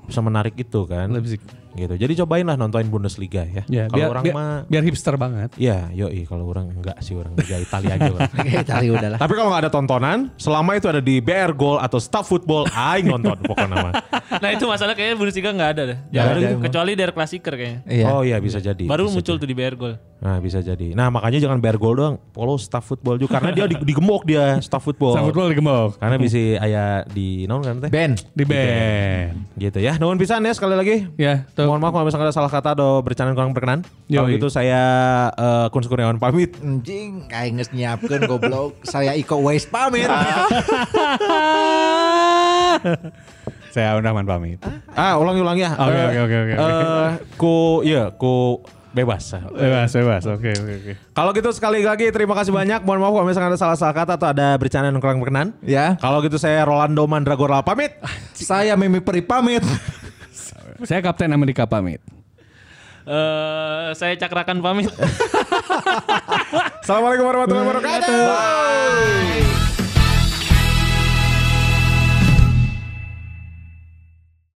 bisa menarik itu kan
Leipzig.
gitu jadi cobain lah nontonin Bundesliga ya,
Ya,
kalau
biar,
orang
biar,
mah
biar hipster banget.
ya yoi kalau orang enggak sih orang Liga Italia aja orang
Oke, cari udahlah.
Tapi kalau nggak ada tontonan, selama itu ada di BR Goal atau Staff Football, aing nonton pokoknya mah.
Nah itu masalah kayaknya Bundesliga nggak ada deh.
Nggak ada emang.
Kecuali dari klasiker kayaknya.
Iya.
Oh iya bisa jadi.
Baru
bisa
muncul
jadi.
tuh di BR Goal.
Nah bisa jadi. Nah makanya jangan BR Goal doang, follow Staff Football juga karena dia di- digemuk dia Staff Football.
Sama football digembok.
Karena bisa aya di naon kan teh.
Ben,
Di band.
Gitu ya. Nuhun pisan ya sekali lagi.
Ya, tuh.
Mohon maaf kalau misalkan ada salah kata atau bercandaan kurang berkenan. Kalau
Yoi.
gitu saya eh, Kun Kurniawan pamit.
anjing kayak nges nyiapkeun goblok. Saya Iko Wais pamit.
Saya Aun Rahman pamit.
Ah ulangi-ulangi ya.
Oke,
Eh,
oke, oke, oke, oke.
eh, ku iya ku bebas.
Bebas, bebas. Oke, oke, oke.
Kalau gitu sekali lagi terima kasih banyak. Mohon maaf kalau misalkan ada salah-salah kata atau ada bercandaan yang kurang berkenan.
Ya.
Kalau gitu saya Rolando Mandragora pamit.
Saya Mimi Peri pamit.
Saya Kapten Amerika pamit.
Eh saya cakrakan pamit.
Assalamualaikum warahmatullahi wabarakatuh.
Bye.